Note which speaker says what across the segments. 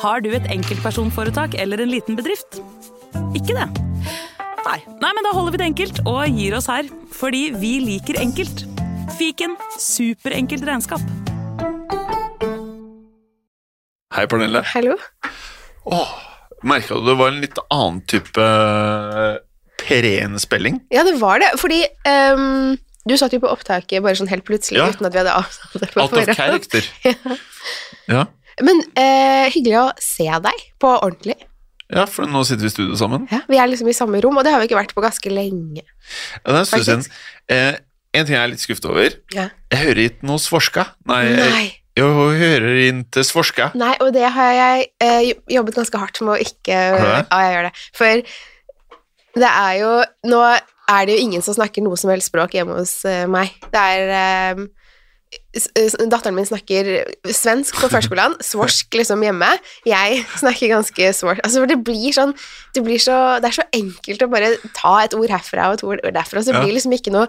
Speaker 1: Har du et enkeltpersonforetak eller en liten bedrift? Ikke det? Nei. Nei, men da holder vi det enkelt og gir oss her. Fordi vi liker enkelt. Fiken superenkelt regnskap.
Speaker 2: Hei, Pernille.
Speaker 3: Hallo.
Speaker 2: Åh, merka du det var en litt annen type peren spilling?
Speaker 3: Ja, det var det. Fordi ehm, du satt jo på opptaket bare sånn helt plutselig
Speaker 2: Ja.
Speaker 3: uten at vi hadde avtalt det. på
Speaker 2: Out of
Speaker 3: forhånd.
Speaker 2: character. Ja.
Speaker 3: Men eh, hyggelig å se deg på ordentlig.
Speaker 2: ja, for nå sitter vi i studio sammen.
Speaker 3: Ja, vi er liksom i samme rom, og det har vi ikke vært på ganske lenge.
Speaker 2: Ja, det er en stund siden. Eh, en ting jeg er litt skuffet over.
Speaker 3: Ja.
Speaker 2: Jeg hører ikke noe svorska. Nei, jeg,
Speaker 3: Nei.
Speaker 2: jeg hører ikke svorska.
Speaker 3: Nei, og det har jeg eh, jo- jobbet ganske hardt med å ikke
Speaker 2: Har du det?
Speaker 3: Ja, jeg gjør det. For det er jo Nå er det jo ingen som snakker noe som helst språk hjemme hos eh, meg. Det er eh, s- s- Datteren min snakker svensk på førskolen, svorsk liksom hjemme. Jeg snakker ganske svorsk. Altså, for det blir sånn det, blir så, det er så enkelt å bare ta et ord herfra og et ord derfra, så det
Speaker 2: Ja.
Speaker 3: blir liksom ikke noe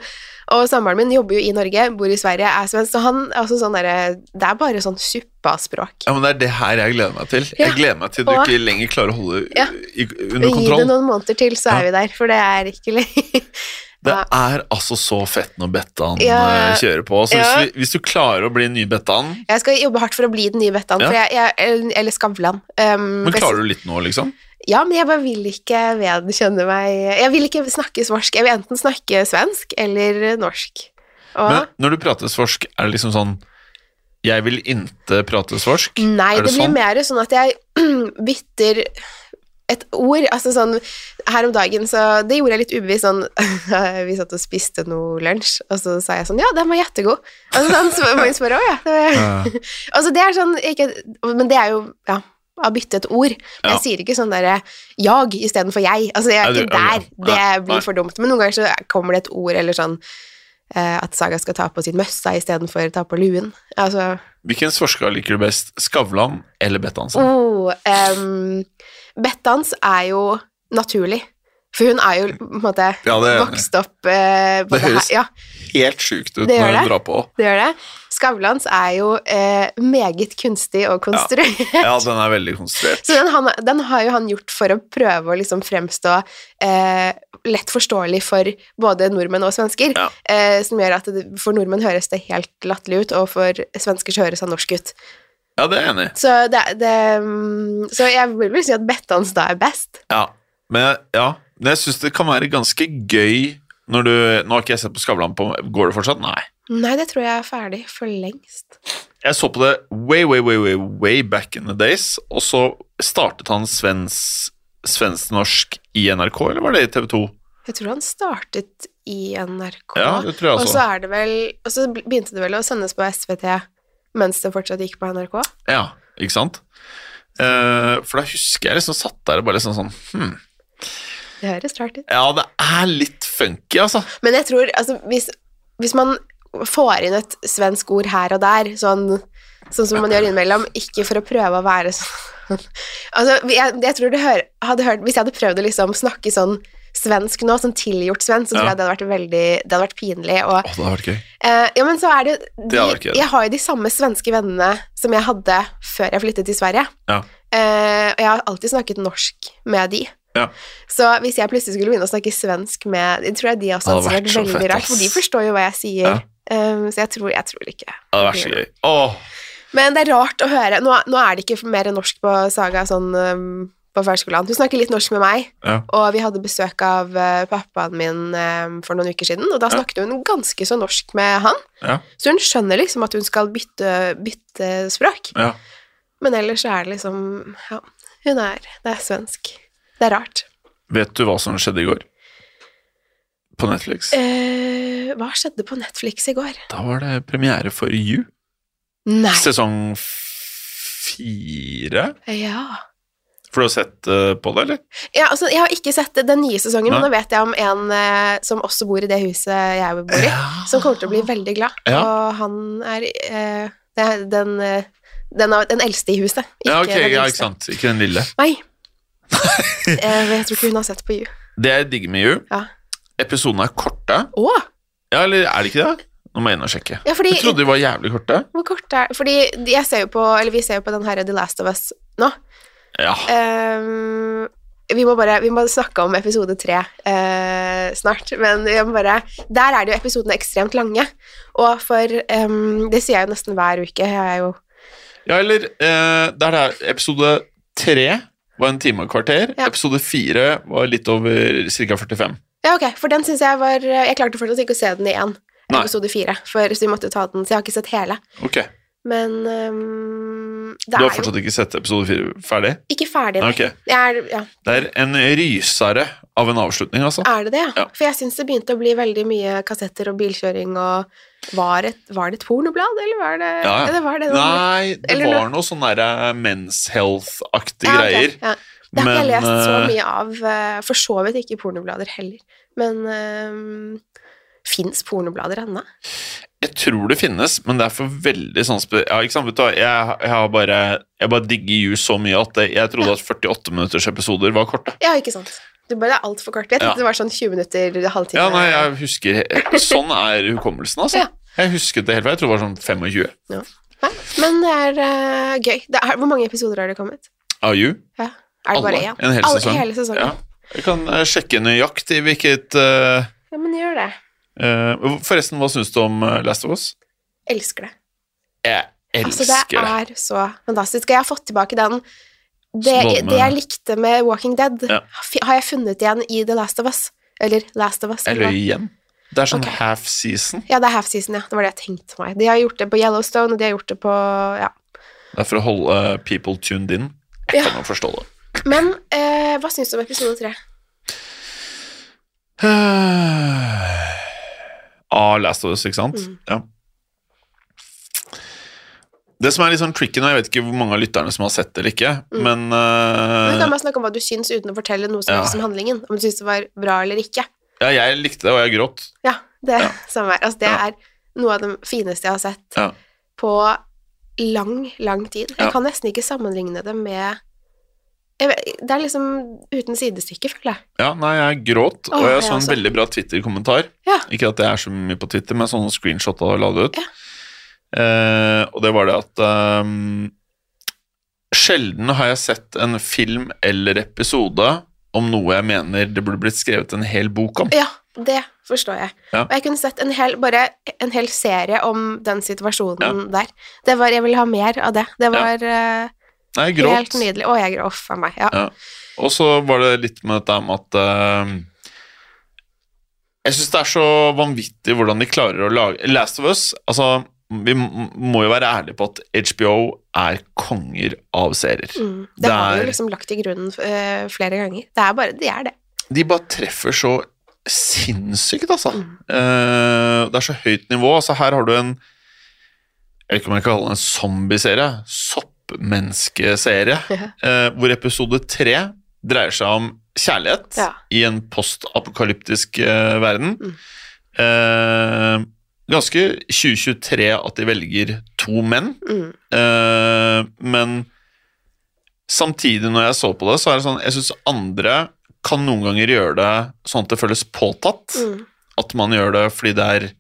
Speaker 3: Og samboeren min jobber jo i Norge, bor i Sverige, er svensk, så han er også sånn derre Det er bare sånn suppaspråk.
Speaker 2: Ja, men Det er det her jeg gleder meg til. Jeg
Speaker 3: Ja.
Speaker 2: gleder meg til du
Speaker 3: Og-
Speaker 2: ikke lenger klarer å holde
Speaker 3: Ja.
Speaker 2: i, under
Speaker 3: Gi det
Speaker 2: kontroll.
Speaker 3: noen måneder til, så er vi der, for det er ikke lenge.
Speaker 2: Det
Speaker 3: Ja.
Speaker 2: er altså så fett når Bettan
Speaker 3: Ja.
Speaker 2: eh, kjører på. Så
Speaker 3: Ja.
Speaker 2: hvis, vi, hvis du klarer å bli en ny Bettan
Speaker 3: Jeg skal jobbe hardt for å bli den nye Bettan,
Speaker 2: Ja.
Speaker 3: for jeg, jeg, eller Skavlan. Um,
Speaker 2: Men klarer du litt nå, liksom?
Speaker 3: Ja, men jeg bare vil ikke vedkjenne meg Jeg vil ikke snakke svorsk. Jeg vil enten snakke svensk eller norsk. Og,
Speaker 2: Men når du prater svorsk, er det liksom sånn Jeg vil inte prate svorsk?
Speaker 3: Nei,
Speaker 2: er
Speaker 3: det, blir mer sånn at jeg bytter et ord, altså sånn Her om dagen, så Det gjorde jeg litt ubevisst, sånn Vi satt og spiste noe lunsj, og så sa jeg sånn Ja, den var kjempegod. Og så sånn, så mange spør òg, ja. Det var,
Speaker 2: Ja.
Speaker 3: Altså, det er sånn ikke, Men det er jo Ja. Å bytte et ord. Men
Speaker 2: Ja.
Speaker 3: jeg sier ikke sånn derre jag istedenfor jeg. Altså, jeg er
Speaker 2: Nei,
Speaker 3: ikke
Speaker 2: du- ja, ja.
Speaker 3: der. Det
Speaker 2: Nei, nei.
Speaker 3: blir for dumt. Men noen ganger så kommer det et ord eller sånn eh, at Saga skal ta på sin møssa istedenfor ta på luen. Altså
Speaker 2: Hvilken svorska liker du best? Skavlan eller Bettansen?
Speaker 3: Oh, ehm, Bettans er jo naturlig. For hun er jo på en måte
Speaker 2: Ja, det er jeg enig i.
Speaker 3: vokst opp eh, på
Speaker 2: Det
Speaker 3: det
Speaker 2: høres-
Speaker 3: her. Ja,
Speaker 2: Helt sjukt ut
Speaker 3: Det gjør
Speaker 2: når hun
Speaker 3: det.
Speaker 2: drar på.
Speaker 3: det gjør det. Skavlans er jo eh, meget kunstig og konstruert.
Speaker 2: Ja, den er veldig konstruert.
Speaker 3: Så den, han, den har jo han gjort for å prøve å liksom fremstå eh, lett forståelig for både nordmenn og svensker,
Speaker 2: Ja.
Speaker 3: eh, som gjør at det, for nordmenn høres det helt latterlig ut, og for svensker så høres han norsk ut.
Speaker 2: Ja, det er jeg enig i.
Speaker 3: Så, det, det, mm, så jeg vil vel si at Bettans da er best.
Speaker 2: Ja. Men jeg- ja, men jeg syns det kan være ganske gøy når du Nå har ikke jeg sett på Skavlan på Går det fortsatt? Nei.
Speaker 3: Nei, det tror jeg er ferdig for lengst.
Speaker 2: Jeg så på det way, way, way, way, way back in the days, og så startet han svens, svensk-norsk i NRK, eller var det i TV 2?
Speaker 3: Jeg tror han startet i NRK,
Speaker 2: Ja, det tror jeg
Speaker 3: og så
Speaker 2: også.
Speaker 3: er det vel Og så begynte det vel å sendes på SVT mens det fortsatt gikk på NRK.
Speaker 2: Ja, ikke sant? Eh, for da husker jeg liksom satt der og bare liksom sånn hmm,
Speaker 3: Det høres rart ut.
Speaker 2: Ja, det er litt funky, altså.
Speaker 3: Men jeg tror, altså, hvis, hvis man får inn et svensk ord her og der, sånn, sånn som man gjør innimellom, ikke for å prøve å være sånn Altså, jeg, jeg tror det hør, hadde hørt Hvis jeg hadde prøvd å liksom snakke sånn svensk nå, sånn tilgjort svensk, så tror
Speaker 2: Ja.
Speaker 3: jeg det hadde vært veldig Det hadde vært pinlig. Og
Speaker 2: Å, det hadde vært gøy.
Speaker 3: Eh, ja, men så er det jo
Speaker 2: Det
Speaker 3: de,
Speaker 2: har ikke jeg.
Speaker 3: Jeg har jo de samme svenske vennene som jeg hadde før jeg flyttet til Sverige.
Speaker 2: Ja.
Speaker 3: Eh, og jeg har alltid snakket norsk med de.
Speaker 2: Ja.
Speaker 3: Så hvis jeg plutselig skulle begynne å snakke svensk med Jeg tror jeg de også
Speaker 2: Det hadde
Speaker 3: hadde vært
Speaker 2: vært så
Speaker 3: veldig
Speaker 2: fett,
Speaker 3: rart, for de
Speaker 2: ass.
Speaker 3: forstår jo hva jeg sier.
Speaker 2: Ja.
Speaker 3: Eh, så jeg tror, jeg tror ikke
Speaker 2: Det hadde vært så gøy. Åh,
Speaker 3: Men det er rart å høre Nå, nå er det ikke mer norsk på Saga sånn eh, på førskolen. Hun snakker litt norsk med meg,
Speaker 2: ja.
Speaker 3: og vi hadde besøk av eh, pappaen min eh, for noen uker siden, og da snakket hun ganske så norsk med han.
Speaker 2: Ja.
Speaker 3: Så hun skjønner liksom at hun skal bytte, bytte språk.
Speaker 2: ja.
Speaker 3: Men ellers så er det liksom Ja, hun er Det er svensk. Det er rart.
Speaker 2: Vet du hva som skjedde i går? På Netflix?
Speaker 3: Eh, hva skjedde på Netflix i går?
Speaker 2: Da var det premiere for You.
Speaker 3: Nei
Speaker 2: Sesong f- fire?
Speaker 3: Ja.
Speaker 2: For du har sett eh, på det, eller?
Speaker 3: ja altså, jeg har ikke sett den nye sesongen, men
Speaker 2: Nei.
Speaker 3: nå vet jeg om en eh, som også bor i det huset jeg bor i, som kommer til å bli veldig glad.
Speaker 2: Ja.
Speaker 3: Og han er eh, det er den, eh, den, av- den eldste i huset.
Speaker 2: ja, ok,
Speaker 3: den
Speaker 2: ja,
Speaker 3: yngste.
Speaker 2: ikke sant. Ikke den lille.
Speaker 3: Nei. Eh, jeg tror ikke hun har sett på You.
Speaker 2: Det jeg digger med You,
Speaker 3: Ja.
Speaker 2: episodene er korte.
Speaker 3: Å!
Speaker 2: Ja, eller er det ikke det? Nå må jeg inn og sjekke.
Speaker 3: Ja, fordi
Speaker 2: Du trodde de var jævlig korte?
Speaker 3: Hvor kort er Fordi de- jeg ser jo på, eller vi ser jo på den her The Last of Us nå.
Speaker 2: Ja.
Speaker 3: Ehm, vi må bare vi må snakke om episode tre eh, snart, men jeg må bare, der er det jo episodene ekstremt lange. Og for ehm, Det sier jeg jo nesten hver uke. Jeg er jo
Speaker 2: Ja, eller eh, Der det er episode tre var en time og et kvarter.
Speaker 3: Ja.
Speaker 2: Episode fire var litt over ca. 45.
Speaker 3: Ja, ok, for den synes jeg var Jeg klarte fortsatt ikke å se den igjen.
Speaker 2: Nei.
Speaker 3: Episode fire. For så vi måtte ta den, så jeg har ikke sett hele.
Speaker 2: Ok,
Speaker 3: Men ehm, det
Speaker 2: Du har
Speaker 3: er jo
Speaker 2: fortsatt ikke sett episode fire ferdig?
Speaker 3: ikke ferdig.
Speaker 2: Nei,
Speaker 3: nei.
Speaker 2: ok.
Speaker 3: Jeg er, ja.
Speaker 2: Det er en rysere av en avslutning, altså.
Speaker 3: Er det det, ja?
Speaker 2: Ja.
Speaker 3: For jeg syns det begynte å bli veldig mye kassetter og bilkjøring og Var, et, var det et pornoblad, eller var det
Speaker 2: Ja, ja.
Speaker 3: det var det.
Speaker 2: Nei, det
Speaker 3: Eller
Speaker 2: var noe sånn derre mens health-aktige
Speaker 3: Ja, ok,
Speaker 2: greier.
Speaker 3: ja. Det har ikke jeg
Speaker 2: men,
Speaker 3: lest så
Speaker 2: eh,
Speaker 3: mye av. eh, For så vidt ikke pornoblader heller. Men um, fins pornoblader ennå?
Speaker 2: Jeg tror det finnes, men det er for veldig sånn spe... Ja, ikke sant, vet du hva, jeg, jeg har bare Jeg bare digger you så mye at det- jeg trodde at 48 minutters episoder var korte.
Speaker 3: Ja, ikke sant. Du bare det er altfor kort. Jeg
Speaker 2: Ja.
Speaker 3: tenkte det var sånn 20 minutter, halvtime.
Speaker 2: Ja, nei, jeg husker Sånn er hukommelsen, altså.
Speaker 3: Ja.
Speaker 2: Jeg husket det helt fra. Jeg tror det var sånn 25.
Speaker 3: Nei, Men det er eh, gøy. Det er, hvor mange episoder har det kommet?
Speaker 2: Are you?
Speaker 3: Ja. Er det bare
Speaker 2: Alle.
Speaker 3: én?
Speaker 2: En hel
Speaker 3: Alle-
Speaker 2: sesong.
Speaker 3: Hele sesongen.
Speaker 2: Ja.
Speaker 3: Ja.
Speaker 2: Jeg kan eh, sjekke nøyaktig hvilket eh,
Speaker 3: men gjør det.
Speaker 2: eh, Forresten, hva syns du om eh, Last of Us?
Speaker 3: Elsker det.
Speaker 2: Jeg
Speaker 3: Altså,
Speaker 2: elsker
Speaker 3: det
Speaker 2: det.
Speaker 3: er så fantastisk. Og jeg har fått tilbake den det,
Speaker 2: Voldene.
Speaker 3: det jeg likte med Walking Dead,
Speaker 2: Ja.
Speaker 3: fi- har jeg funnet igjen i The Last of Us. Eller Last of Us.
Speaker 2: Jeg
Speaker 3: eller
Speaker 2: løy
Speaker 3: hva?
Speaker 2: igjen. Det er sånn
Speaker 3: Ok.
Speaker 2: half season.
Speaker 3: Ja, det er half season, ja. Det var det jeg tenkte meg. De har gjort det på Yellowstone, og de har gjort det på Ja.
Speaker 2: Det er for å holde eh, people tuned in. Jeg
Speaker 3: Ja.
Speaker 2: kan jo forstå det.
Speaker 3: Men eh, hva syns du om episode tre?
Speaker 2: Eh. Ah, Last of Us, ikke sant?
Speaker 3: Mm.
Speaker 2: Ja. Det som er litt sånn tricky nå, jeg vet ikke hvor mange av lytterne som har sett det eller ikke,
Speaker 3: Mm.
Speaker 2: men
Speaker 3: Du
Speaker 2: eh,
Speaker 3: kan bare snakke om hva du syns, uten å fortelle noe som
Speaker 2: Ja.
Speaker 3: helst om handlingen. Om du syns det var bra eller ikke.
Speaker 2: ja, jeg likte det, og jeg gråt.
Speaker 3: Ja, det
Speaker 2: Ja.
Speaker 3: samme her. Altså, det
Speaker 2: Ja.
Speaker 3: er noe av det fineste jeg har sett
Speaker 2: Ja.
Speaker 3: på lang, lang tid. Jeg
Speaker 2: Ja.
Speaker 3: kan nesten ikke sammenligne det med jeg vet, Det er liksom uten sidestykke, føler jeg.
Speaker 2: Ja, nei, jeg gråt,
Speaker 3: Åh,
Speaker 2: og jeg
Speaker 3: jeg
Speaker 2: så en
Speaker 3: også.
Speaker 2: veldig bra Twitter-kommentar.
Speaker 3: Ja.
Speaker 2: Ikke at jeg er så mye på Twitter, men sånne screenshot og la det ut.
Speaker 3: Ja.
Speaker 2: Eh, og det var det at ehm, Sjelden har jeg sett en film eller episode om noe jeg mener det burde blitt skrevet en hel bok om.
Speaker 3: Ja, det forstår jeg.
Speaker 2: Ja.
Speaker 3: Og jeg kunne sett en hel, bare en hel serie om den situasjonen der. Det var, jeg ville ha mer av det. Det var eh,
Speaker 2: Nei, jeg
Speaker 3: helt
Speaker 2: gråt.
Speaker 3: nydelig. Å, jeg gråt. Uff a meg. Ja.
Speaker 2: Ja. Og så var det litt med dette med at eh, Jeg syns det er så vanvittig hvordan de klarer å lage Last of Us Altså, vi m- må jo være ærlige på at HBO er konger av serier.
Speaker 3: Mm. Det,
Speaker 2: Det
Speaker 3: har vi
Speaker 2: er-
Speaker 3: jo liksom lagt i grunnen eh, flere ganger. Det er bare Det er det.
Speaker 2: De bare treffer så sinnssykt, altså.
Speaker 3: Mm.
Speaker 2: Eh, det er så høyt nivå. Altså, her har du en Jeg vet ikke om jeg kan kalle det en zombieserie. Soppmenneskeserie.
Speaker 3: Ja.
Speaker 2: eh, hvor episode tre dreier seg om kjærlighet
Speaker 3: Ja.
Speaker 2: i en postapokalyptisk eh, verden.
Speaker 3: Mm.
Speaker 2: Eh, ganske 2023 at de velger to menn,
Speaker 3: Mm.
Speaker 2: eh, men samtidig når jeg så på det, så er det sånn Jeg syns andre kan noen ganger gjøre det sånn at det føles påtatt.
Speaker 3: Mm.
Speaker 2: At man gjør det fordi det er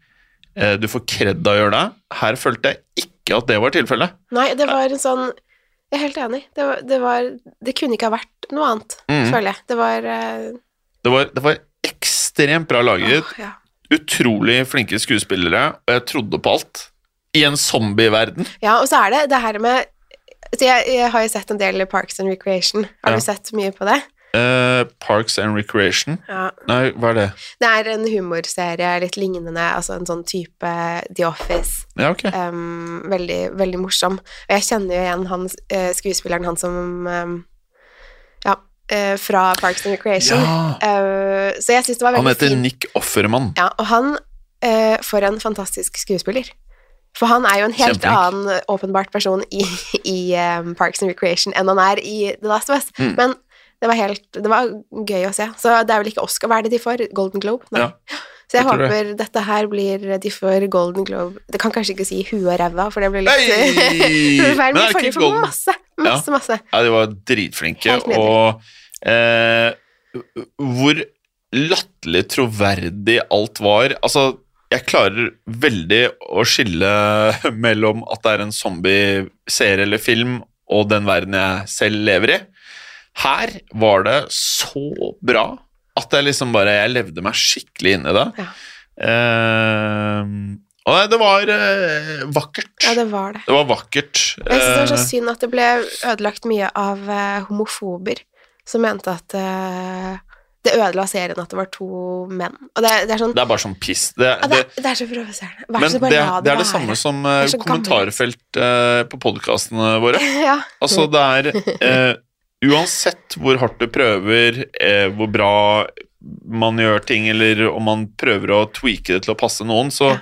Speaker 2: eh, du får kred av å gjøre det. Her følte jeg ikke at det var tilfellet.
Speaker 3: Nei, det var en sånn Jeg er helt enig. Det, var, det, var, det kunne ikke ha vært noe annet,
Speaker 2: Mm.
Speaker 3: føler jeg. Det var eh,
Speaker 2: Det var, det var ekstremt bra laget.
Speaker 3: åh, ja.
Speaker 2: Utrolig flinke skuespillere, og jeg trodde på alt. I en zombieverden.
Speaker 3: ja, og så er det det her med så jeg, jeg har jo sett en del Parks and Recreation. Har
Speaker 2: Ja.
Speaker 3: du sett mye på det?
Speaker 2: Eh, Parks and Recreation.
Speaker 3: Ja.
Speaker 2: Nei, hva er det?
Speaker 3: Det er en humorserie, litt lignende, altså en sånn type The Office.
Speaker 2: Ja, ok.
Speaker 3: Eh, Em, veldig, veldig morsom. Og jeg kjenner jo igjen han, eh, skuespilleren, han som em, Ja, eh, fra Parks and Recreation.
Speaker 2: Ja.
Speaker 3: Eh, så jeg syns det var
Speaker 2: Han
Speaker 3: veldig
Speaker 2: heter
Speaker 3: fint.
Speaker 2: Nick Offermann.
Speaker 3: Ja, og han eh, For en fantastisk skuespiller. For han er jo en helt
Speaker 2: Kjempeflink.
Speaker 3: annen eh, åpenbart person i, i eh, Parks and Recreation enn han er i The Last of Us.
Speaker 2: Mm.
Speaker 3: Men det var, helt, det var gøy å se. Så det er vel ikke Oscar. Hva er det de får? Golden Globe? Nei.
Speaker 2: Ja.
Speaker 3: Så jeg,
Speaker 2: jeg tror det.
Speaker 3: håper dette her blir De får Golden Globe Det kan kanskje ikke si huet og ræva, for det blir litt
Speaker 2: Hei!
Speaker 3: det blir
Speaker 2: Men
Speaker 3: feil, men
Speaker 2: er
Speaker 3: de får,
Speaker 2: det
Speaker 3: de
Speaker 2: ikke
Speaker 3: får
Speaker 2: Golden?
Speaker 3: masse, masse, masse.
Speaker 2: Ja, de var dritflinke,
Speaker 3: Helt nydelig.
Speaker 2: og eh, hvor latterlig troverdig alt var. Altså, jeg klarer veldig å skille mellom at det er en zombie-serie eller film, og den verden jeg selv lever i. Her var det så bra at jeg liksom bare Jeg levde meg skikkelig inn i det.
Speaker 3: Ja.
Speaker 2: Eh, og nei, det var eh, vakkert.
Speaker 3: Ja,
Speaker 2: det...
Speaker 3: det var det.
Speaker 2: var vakkert.
Speaker 3: Og Jeg synes det var
Speaker 2: Eh,
Speaker 3: så synd at det ble ødelagt mye av eh, homofober som mente at eh, det ødela serien at det var to menn. Og det, er- det er sånn
Speaker 2: det er bare sånn piss. Det, det,
Speaker 3: Ja, det, er- det er så provoserende. Vær
Speaker 2: men
Speaker 3: så
Speaker 2: det,
Speaker 3: snill, bare
Speaker 2: det
Speaker 3: la
Speaker 2: er
Speaker 3: det
Speaker 2: det
Speaker 3: være.
Speaker 2: samme som eh,
Speaker 3: Det er så gammelt.
Speaker 2: kommentarfelt eh, på podkastene våre.
Speaker 3: ja.
Speaker 2: Altså, det er eh, Uansett hvor hardt du prøver, eh, hvor bra man gjør ting, eller om man prøver å tweake det til å passe noen, så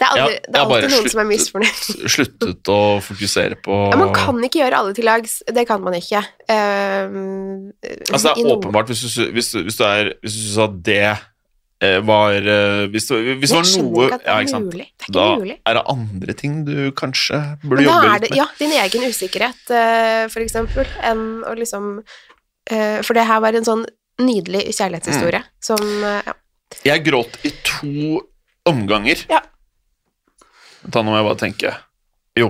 Speaker 3: Det er,
Speaker 2: Ja,
Speaker 3: aldri, det er
Speaker 2: jeg bare
Speaker 3: alltid noen som er
Speaker 2: sluttet.
Speaker 3: misfornøyd.
Speaker 2: sluttet å fokusere på
Speaker 3: Ja, man kan ikke gjøre alle til lags. Det kan man ikke. Ehm,
Speaker 2: Altså, det
Speaker 3: i
Speaker 2: er
Speaker 3: noen-
Speaker 2: åpenbart hvis du, sy- hvis du, hvis du, er, hvis du syns at det eh, var eh, Hvis, du, hvis det
Speaker 3: Jeg
Speaker 2: var
Speaker 3: skjønner
Speaker 2: noe
Speaker 3: ikke at det
Speaker 2: ja,
Speaker 3: er
Speaker 2: ikke sant?
Speaker 3: mulig. Det er ikke
Speaker 2: Da
Speaker 3: mulig.
Speaker 2: er det andre ting du kanskje burde
Speaker 3: Men da
Speaker 2: jobbe litt
Speaker 3: er det,
Speaker 2: med.
Speaker 3: ja, din egen usikkerhet, eh, for eksempel, enn å liksom eh, For det her var en sånn nydelig
Speaker 2: Mm.
Speaker 3: kjærlighetshistorie som eh, ja.
Speaker 2: Jeg gråt i to omganger.
Speaker 3: Ja.
Speaker 2: Da nå må jeg bare tenke. Jo.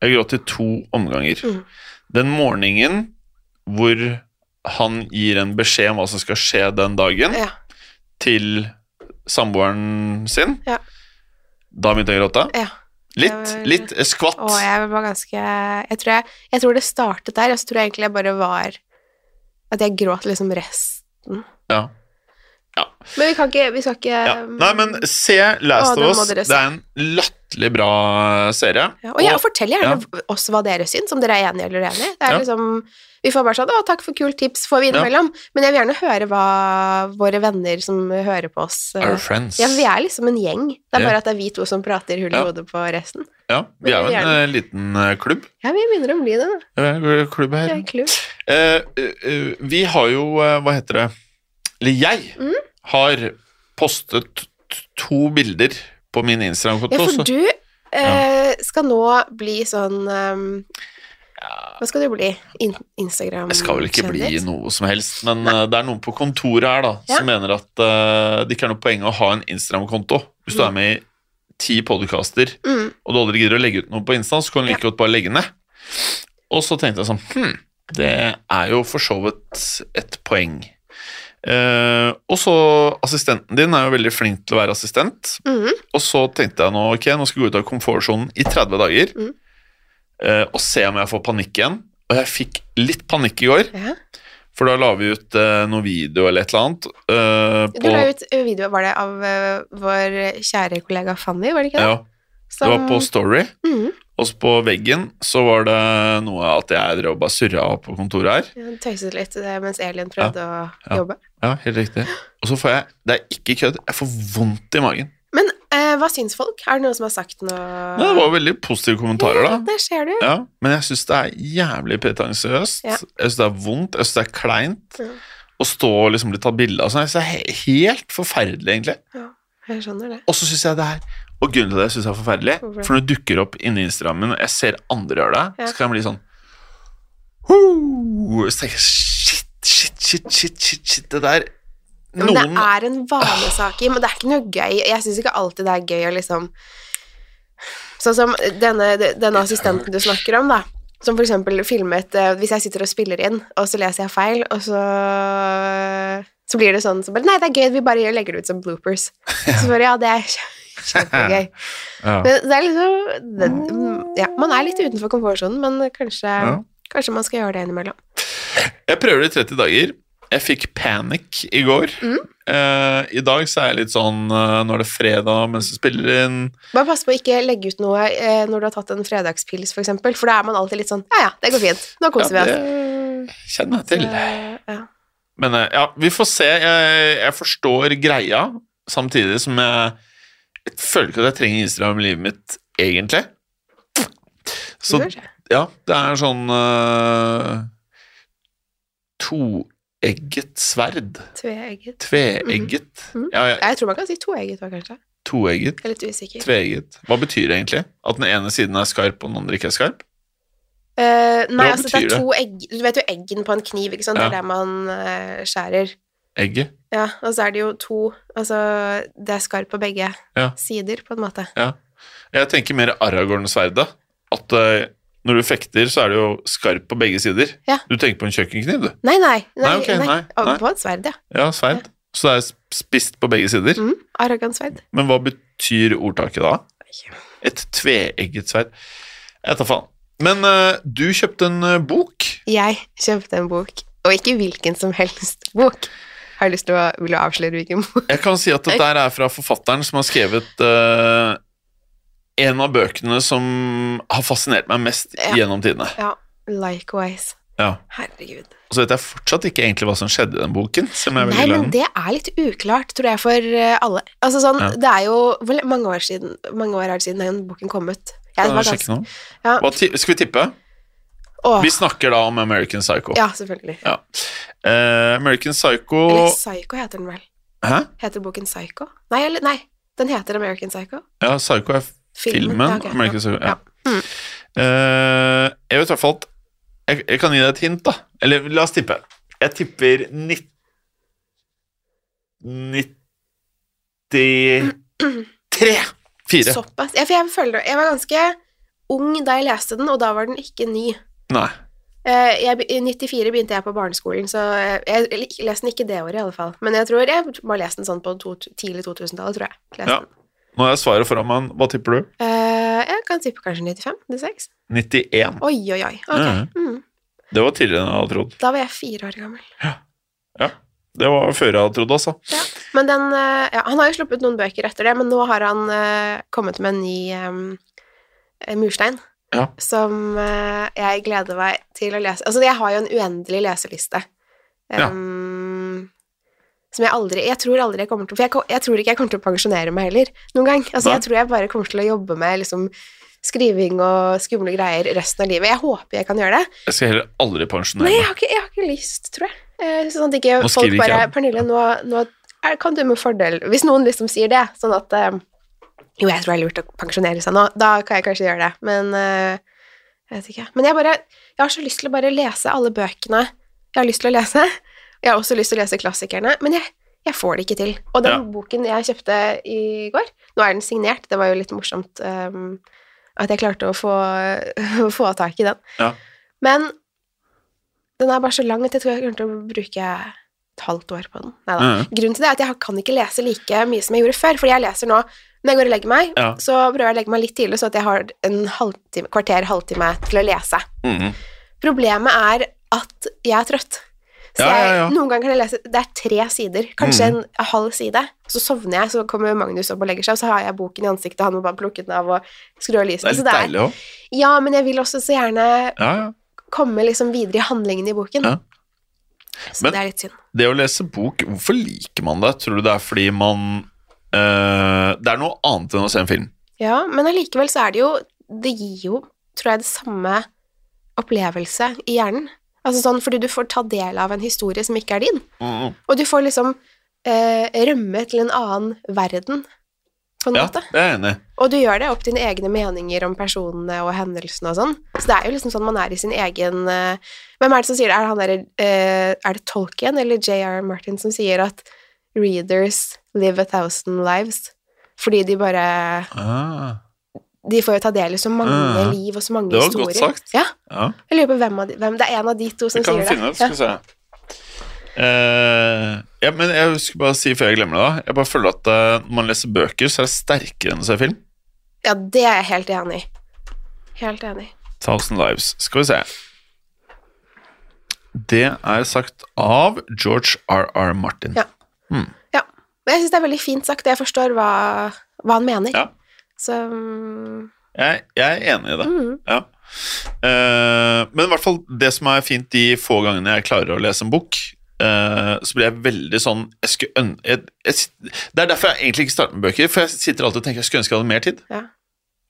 Speaker 2: Jeg gråt i to omganger.
Speaker 3: Mm.
Speaker 2: Den morgenen hvor han gir en beskjed om hva som skal skje den dagen,
Speaker 3: ja,
Speaker 2: til samboeren sin,
Speaker 3: Ja.
Speaker 2: da begynte jeg å gråte.
Speaker 3: ja.
Speaker 2: Litt,
Speaker 3: Det var-
Speaker 2: litt eh, skvatt.
Speaker 3: Og jeg var ganske jeg tror, jeg, jeg tror det startet der, og så tror jeg egentlig jeg bare var At jeg gråt liksom resten.
Speaker 2: Ja. Ja.
Speaker 3: Men vi kan ikke Vi skal ikke
Speaker 2: Ja. Nei, men se Last
Speaker 3: Å, den
Speaker 2: of
Speaker 3: må
Speaker 2: Us.
Speaker 3: dere
Speaker 2: Det
Speaker 3: se.
Speaker 2: er en latterlig bra serie.
Speaker 3: Ja, og, ja, og fortell gjerne oss hva dere syns, om dere er enige eller uenige. Det er
Speaker 2: Ja.
Speaker 3: liksom, vi får bare sånn 'Å, takk for kult tips', får vi
Speaker 2: Ja.
Speaker 3: innimellom. Men jeg vil gjerne høre hva våre venner som hører på oss eh,
Speaker 2: Our friends.
Speaker 3: Ja, vi er liksom en gjeng. Det er
Speaker 2: Ja.
Speaker 3: bare at det er vi to som prater hull i
Speaker 2: Ja.
Speaker 3: hodet på resten.
Speaker 2: Ja, vi er jo en
Speaker 3: Gjerne.
Speaker 2: eh, liten eh, klubb.
Speaker 3: Ja, vi begynner å bli det, da.
Speaker 2: Vi er en klubb
Speaker 3: Det
Speaker 2: her.
Speaker 3: er en klubb.
Speaker 2: Eh, eh, vi har jo, eh, hva heter det Eller jeg
Speaker 3: Mm.
Speaker 2: har postet t- t- to bilder på min
Speaker 3: Ja,
Speaker 2: Instagram-konto.
Speaker 3: for
Speaker 2: så-
Speaker 3: du eh, skal nå bli sånn ehm, Hva skal du bli? In Instagram?
Speaker 2: Jeg skal vel ikke bli
Speaker 3: kjendis?
Speaker 2: noe som helst, men eh, det er noen på kontoret her da,
Speaker 3: Ja.
Speaker 2: som mener at eh, det ikke er noe poeng å ha en Instagram-konto. Hvis du
Speaker 3: Mm.
Speaker 2: er med i ti podkaster,
Speaker 3: Mm.
Speaker 2: og du aldri gidder å legge ut noe på Insta, så kan du
Speaker 3: Ja.
Speaker 2: like godt bare legge ned. Og så tenkte jeg sånn Hm, det er jo for så vidt et poeng. Eh, og så Assistenten din er jo veldig flink til å være assistent.
Speaker 3: Mm.
Speaker 2: Og så tenkte jeg nå ok, nå skal jeg gå ut av komfortsonen i 30 dager
Speaker 3: Mm.
Speaker 2: eh, og se om jeg får panikk igjen. Og jeg fikk litt panikk i går,
Speaker 3: Ja.
Speaker 2: for da la vi ut eh, noe video eller et eller annet. eh,
Speaker 3: Du
Speaker 2: på,
Speaker 3: la ut eh, video var det, av eh, vår kjære kollega Fanny, var det ikke det?
Speaker 2: ja, det var på Story.
Speaker 3: mm,
Speaker 2: Og så på veggen så var det noe at jeg drev og bare surra på kontoret her.
Speaker 3: jeg tøyset litt eh, mens Elin prøvde
Speaker 2: ja.
Speaker 3: å jobbe.
Speaker 2: Ja, helt riktig. Og så får jeg Det er ikke kødd, jeg får vondt i magen.
Speaker 3: Men eh, hva syns folk? Er det noen som har sagt noe?
Speaker 2: Men det var veldig positive kommentarer, da.
Speaker 3: Der ser du.
Speaker 2: Ja, men jeg syns det er jævlig pretensiøst.
Speaker 3: Ja.
Speaker 2: Jeg syns det er vondt, jeg syns det er kleint.
Speaker 3: Ja.
Speaker 2: Å stå og liksom bli tatt bilde av sånn. Jeg synes det er he- helt forferdelig, egentlig.
Speaker 3: Jeg skjønner det.
Speaker 2: Og så syns jeg det er Og grunnen til det syns jeg er forferdelig,
Speaker 3: Hvorfor det?
Speaker 2: for når det dukker opp inni Instagrammen, og jeg ser andre gjøre det,
Speaker 3: Ja.
Speaker 2: så kan jeg bli sånn «Hoo!» Så tenker jeg shit, shit, shit, shit, shit, shit, det der
Speaker 3: Men
Speaker 2: Noen
Speaker 3: det er en vanesak i, men det er ikke noe gøy. Jeg syns ikke alltid det er gøy å liksom Sånn som denne, denne assistenten du snakker om, da. Som for eksempel filmet eh, Hvis jeg sitter og spiller inn, og så leser jeg feil, og så Så blir det sånn som bare Nei, det er gøy, vi bare gjør- legger det ut som bloopers. Så bare Ja, det er kje- kjempegøy.
Speaker 2: Ja.
Speaker 3: Men det er liksom det, Ja, man er litt utenfor komfortsonen, men kanskje
Speaker 2: Ja.
Speaker 3: Kanskje man skal gjøre det innimellom.
Speaker 2: Jeg prøver det i 30 dager. Jeg fikk panikk i går.
Speaker 3: Mm.
Speaker 2: Eh, I dag så er jeg litt sånn eh, Nå er det fredag mens du spiller inn.
Speaker 3: Bare pass på å ikke legge ut noe eh, når du har tatt en fredagspils, for eksempel, for da er man alltid litt sånn Ja, ja, det går fint. Nå koser
Speaker 2: Ja,
Speaker 3: vi oss.
Speaker 2: det kjenner jeg til.
Speaker 3: Så, ja.
Speaker 2: Men eh, ja, vi får se. Jeg, jeg forstår greia, samtidig som jeg, jeg føler ikke at jeg trenger Instagram i livet mitt, egentlig. Så
Speaker 3: Vi får se.
Speaker 2: ja, det er sånn eh, Toegget sverd.
Speaker 3: Tveegget.
Speaker 2: Tveegget.
Speaker 3: Mhm. Mhm.
Speaker 2: Ja, ja,
Speaker 3: Ja, jeg tror man kan si toegget òg, kanskje.
Speaker 2: toegget.
Speaker 3: Jeg er litt usikker.
Speaker 2: Tveegget. Hva betyr det egentlig? At den ene siden er skarp, og den andre ikke er skarp?
Speaker 3: Eh, nei,
Speaker 2: Hva
Speaker 3: altså det
Speaker 2: betyr
Speaker 3: er
Speaker 2: det?
Speaker 3: to egg Du vet jo eggen på en kniv, ikke sant? Det
Speaker 2: Ja.
Speaker 3: er der man eh, skjærer.
Speaker 2: Egget?
Speaker 3: Ja, og så er det jo to Altså, det er skarp på begge
Speaker 2: Ja.
Speaker 3: sider, på en måte.
Speaker 2: Ja. Jeg tenker mer Aragorn-sverdet. At eh, når du fekter, så er det jo skarp på begge sider.
Speaker 3: Ja.
Speaker 2: Du tenker på en kjøkkenkniv, du.
Speaker 3: Nei, nei. Nei,
Speaker 2: Nei, ok, nei,
Speaker 3: Å,
Speaker 2: nei.
Speaker 3: På et sverd, ja.
Speaker 2: Ja, sverd. Så det er spist på begge sider.
Speaker 3: Mm, Arrogant sverd.
Speaker 2: Men hva betyr ordtaket da?
Speaker 3: Nei.
Speaker 2: Et tveegget sverd. Jeg tar faen. Men eh, du kjøpte en eh, bok.
Speaker 3: Jeg kjøpte en bok, og ikke hvilken som helst bok. Har du lyst til å vil du avsløre hvilken bok?
Speaker 2: Jeg kan si at dette her er fra forfatteren som har skrevet eh, en av bøkene som har fascinert meg mest
Speaker 3: Ja.
Speaker 2: gjennom tidene.
Speaker 3: Ja, likewise.
Speaker 2: Ja.
Speaker 3: Herregud.
Speaker 2: Og så vet jeg fortsatt ikke egentlig hva som skjedde i den boken. Selv om jeg er
Speaker 3: Nei,
Speaker 2: veldig glad
Speaker 3: men
Speaker 2: i den.
Speaker 3: det er litt uklart, tror jeg, for eh, alle. Altså sånn,
Speaker 2: Ja.
Speaker 3: det er jo Hvor le- mange år siden Mange år er det siden den boken kom ut? Jeg
Speaker 2: Kan
Speaker 3: var
Speaker 2: jeg sjekke
Speaker 3: ganske-
Speaker 2: nå?
Speaker 3: Ja.
Speaker 2: Hva ti- skal vi tippe?
Speaker 3: Åh,
Speaker 2: Vi snakker da om American Psycho.
Speaker 3: ja, selvfølgelig.
Speaker 2: Ja. Eh, American Psycho
Speaker 3: Eller Psycho heter den vel.
Speaker 2: Hæ?
Speaker 3: Heter boken Psycho? Nei, eller, nei. den heter American Psycho.
Speaker 2: Ja, Psycho er filmen.
Speaker 3: ja, ok,
Speaker 2: American Psycho, ja.
Speaker 3: ja. Mm.
Speaker 2: Eh, jeg vet i hvert fall at jeg, jeg kan gi deg et hint, da. Eller la oss tippe. Jeg tipper 90 93 4.
Speaker 3: Såpass. Ja, for jeg føler Jeg var ganske ung da jeg leste den, og da var den ikke ny.
Speaker 2: Nei.
Speaker 3: Eh, jeg, be- I 94 begynte jeg på barneskolen, så jeg, jeg lik- leste den ikke det året i alle fall. Men jeg tror jeg må ha lest den sånn på to, tidlig 2000-tallet, tror jeg. Leste
Speaker 2: Ja.
Speaker 3: den.
Speaker 2: Nå har jeg svaret foran meg. Hva tipper du?
Speaker 3: Eh, jeg kan tippe kanskje 95? 96?
Speaker 2: 91.
Speaker 3: Oi, oi, oi.
Speaker 2: Ja, ja.
Speaker 3: Ok. Mm.
Speaker 2: Det var tidligere enn jeg hadde trodd.
Speaker 3: Da var jeg fire år gammel.
Speaker 2: Det var før jeg hadde trodd, altså.
Speaker 3: Men den, eh, ja, han har jo sluppet noen bøker etter det, men nå har han eh, kommet med en ny eh, murstein.
Speaker 2: Ja.
Speaker 3: Som eh, jeg gleder meg til å lese. Altså, jeg har jo en uendelig leseliste.
Speaker 2: Ja.
Speaker 3: em, Som jeg aldri Jeg tror aldri jeg kommer til For jeg, ko- jeg tror ikke jeg kommer til å pensjonere meg heller noen gang. Altså,
Speaker 2: Nei.
Speaker 3: jeg tror jeg bare kommer til å jobbe med liksom skriving og skumle greier resten av livet. Jeg håper jeg kan gjøre det.
Speaker 2: Jeg skal heller aldri pensjonere
Speaker 3: Nei,
Speaker 2: meg.
Speaker 3: jeg har ikke, jeg har ikke lyst, tror jeg. Eh, Sånn at ikke
Speaker 2: Nå skriver
Speaker 3: folk
Speaker 2: ikke
Speaker 3: bare
Speaker 2: jeg.
Speaker 3: Pernille, nå, nå er, kan du med fordel Hvis noen liksom sier det, sånn at eh, Jo, jeg tror det er lurt å pensjonere seg nå. Da kan jeg kanskje gjøre det, men eh, Jeg vet ikke. Men jeg bare Jeg har så lyst til å bare lese alle bøkene jeg har lyst til å lese. Jeg har også lyst til å lese klassikerne, men jeg, jeg får det ikke til. Og den
Speaker 2: Ja.
Speaker 3: boken jeg kjøpte i går, nå er den signert, det var jo litt morsomt ehm, at jeg klarte å få, å få tak i den.
Speaker 2: Ja.
Speaker 3: Men den er bare så lang at jeg tror jeg kommer til å bruke et halvt år på den. Neida.
Speaker 2: Mhm.
Speaker 3: Grunnen til det er at jeg kan ikke lese like mye som jeg gjorde før, fordi jeg leser nå når jeg går og legger meg,
Speaker 2: Ja.
Speaker 3: så prøver jeg å legge meg litt tidlig, så at jeg har en halvtime, kvarter, halvtime til å lese.
Speaker 2: Mhm.
Speaker 3: Problemet er at jeg er trøtt. Så
Speaker 2: Ja,
Speaker 3: jeg,
Speaker 2: ja, Mm. ja.
Speaker 3: noen ganger kan jeg lese Det er tre sider, kanskje en halv side. Så sovner jeg, så kommer Magnus opp og legger seg, og så har jeg boken i ansiktet, og han må bare plukke den av og skru av
Speaker 2: Det
Speaker 3: lyset.
Speaker 2: er litt
Speaker 3: Så det er,
Speaker 2: deilig òg.
Speaker 3: ja, men jeg vil også så gjerne
Speaker 2: Ja, ja.
Speaker 3: komme liksom videre i handlingen i boken.
Speaker 2: Ja.
Speaker 3: Så
Speaker 2: Men-
Speaker 3: det er litt synd.
Speaker 2: Det å lese bok, hvorfor liker man det? Tror du det er fordi man eh, Det er noe annet enn å se en film.
Speaker 3: Ja, men allikevel så er det jo Det gir jo, tror jeg, det samme opplevelse i hjernen. Altså sånn fordi du får ta del av en historie som ikke er din. Og du får liksom eh, rømme til en annen verden, på en
Speaker 2: Ja, det
Speaker 3: måte.
Speaker 2: er jeg enig i.
Speaker 3: Og du gjør det opp dine egne meninger om personene og hendelsene og sånn. Så det er jo liksom sånn man er i sin egen eh, Hvem er det som sier det? Er det, han der, eh, er det Tolkien eller J.R. Martin som sier at readers live a thousand lives? Fordi de bare
Speaker 2: Ah,
Speaker 3: De får jo ta del i så mange
Speaker 2: Mhm.
Speaker 3: liv og så mange
Speaker 2: Det var
Speaker 3: historier.
Speaker 2: godt sagt.
Speaker 3: Ja.
Speaker 2: ja.
Speaker 3: Jeg lurer på hvem, av de, hvem Det er en av de to som
Speaker 2: Vi kan
Speaker 3: sier det.
Speaker 2: finne det, skal vi se. Eh, ja, men jeg husker bare å si før jeg glemmer det, da. Jeg bare føler at eh, når man leser bøker, så er det sterkere enn å se film.
Speaker 3: ja. ja, det er jeg helt enig i. Helt enig.
Speaker 2: Thousand Lives. Skal vi se. Det er sagt av George R.R. Martin.
Speaker 3: Ja. Ja. Men jeg syns det er veldig fint sagt, og jeg forstår hva, hva han mener.
Speaker 2: Ja.
Speaker 3: Så mm,
Speaker 2: Jeg, jeg er enig i det.
Speaker 3: mm.
Speaker 2: Ja. Eh, men i hvert fall det som er fint de få gangene jeg klarer å lese en bok, eh, så blir jeg veldig sånn jeg skulle øn jeg, jeg, sit- Det er derfor jeg egentlig ikke starter med bøker, for jeg sitter alltid og tenker jeg skulle ønske jeg hadde mer tid.
Speaker 3: Ja.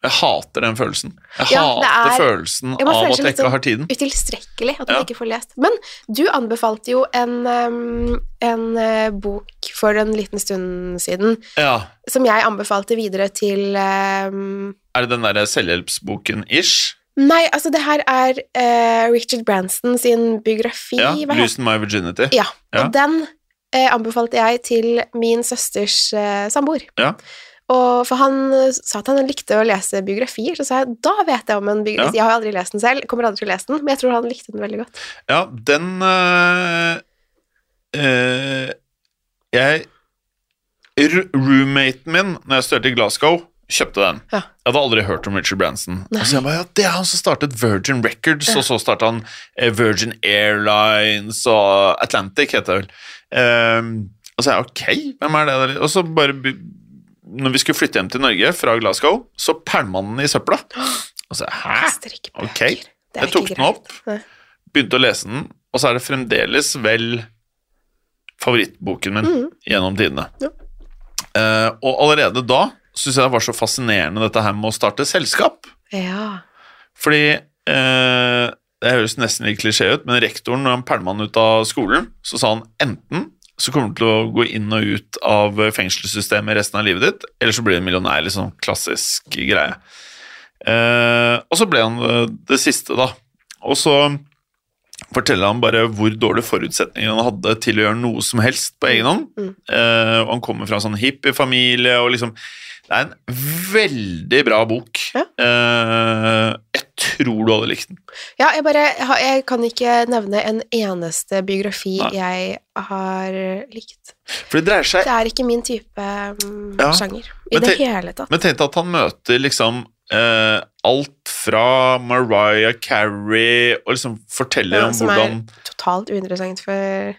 Speaker 2: Jeg hater den følelsen. Jeg
Speaker 3: Ja, det
Speaker 2: hater
Speaker 3: er-
Speaker 2: følelsen
Speaker 3: Ja, man
Speaker 2: av at
Speaker 3: føler seg
Speaker 2: jeg
Speaker 3: litt
Speaker 2: ikke
Speaker 3: sånn-
Speaker 2: har tiden.
Speaker 3: utilstrekkelig at man
Speaker 2: Mm. Ja.
Speaker 3: ikke får lest. Men du anbefalte jo en, ehm, en eh, bok for en liten stund siden
Speaker 2: Ja.
Speaker 3: som jeg anbefalte videre til ehm,
Speaker 2: Er det den derre selvhjelpsboken ish?
Speaker 3: Nei, altså det her er eh, Richard Branson sin biografi.
Speaker 2: Ja.
Speaker 3: hva heter-
Speaker 2: 'Loosen My Virginity'.
Speaker 3: ja.
Speaker 2: Ja.
Speaker 3: Og den eh, anbefalte jeg til min søsters eh, samboer.
Speaker 2: Ja.
Speaker 3: Og for han eh, sa at han likte å lese biografier, så sa jeg da vet jeg om en biografi.
Speaker 2: Ja.
Speaker 3: Jeg har jo aldri lest den selv, kommer aldri til å lese den, men jeg tror han likte den veldig godt.
Speaker 2: Ja, den eh, eh, Jeg ru- Roommaten min, når jeg studerte i Glasgow, kjøpte den.
Speaker 3: Ja.
Speaker 2: Jeg hadde aldri hørt om Richard Branson. Og så jeg bare, ja, Det er han som startet Virgin Records, og så startet han eh, Virgin Airlines og Atlantic, heter det vel. Ehm, og så er jeg, ok, hvem er det der? Og så bare be- Når vi skulle flytte hjem til Norge fra Glasgow, så pælma han den i søpla. Og så hæ?
Speaker 3: Kaster ikke bøker.
Speaker 2: Ok,
Speaker 3: Det er
Speaker 2: jeg tok
Speaker 3: ikke
Speaker 2: den
Speaker 3: greit.
Speaker 2: opp
Speaker 3: Nei.
Speaker 2: begynte å lese den, og så er det fremdeles vel favorittboken min gjennom tidene.
Speaker 3: Mm. Ja.
Speaker 2: Eh, og allerede da syns jeg det var så fascinerende dette her med å starte selskap.
Speaker 3: Ja.
Speaker 2: Fordi eh, Det høres nesten litt klisjé ut, men rektoren, når han pælma han ut av skolen, så sa han enten så kommer du til å gå inn og ut av fengselssystemet resten av livet ditt, eller så blir du en millionær. Litt sånn klassisk greie. Eh, og så ble han eh, det siste, da. Og så forteller han bare hvor dårlige forutsetninger han hadde til å gjøre noe som helst på egen hånd.
Speaker 3: Mm.
Speaker 2: Eh, og han kommer fra en sånn hippiefamilie, og liksom Det er en veldig bra bok.
Speaker 3: Ja.
Speaker 2: Eh, jeg tror du hadde likt den.
Speaker 3: Ja, jeg bare jeg har- Jeg kan ikke nevne en eneste biografi
Speaker 2: Nei.
Speaker 3: jeg har likt.
Speaker 2: For det dreier seg
Speaker 3: Det er ikke min type mm,
Speaker 2: Ja.
Speaker 3: sjanger i
Speaker 2: Men
Speaker 3: det
Speaker 2: tenk-
Speaker 3: hele tatt.
Speaker 2: Men tenk deg at han møter liksom eh, alt fra Mariah Carey og liksom forteller
Speaker 3: Ja,
Speaker 2: om
Speaker 3: Eh, som er-
Speaker 2: hvordan
Speaker 3: Totalt uinteressant for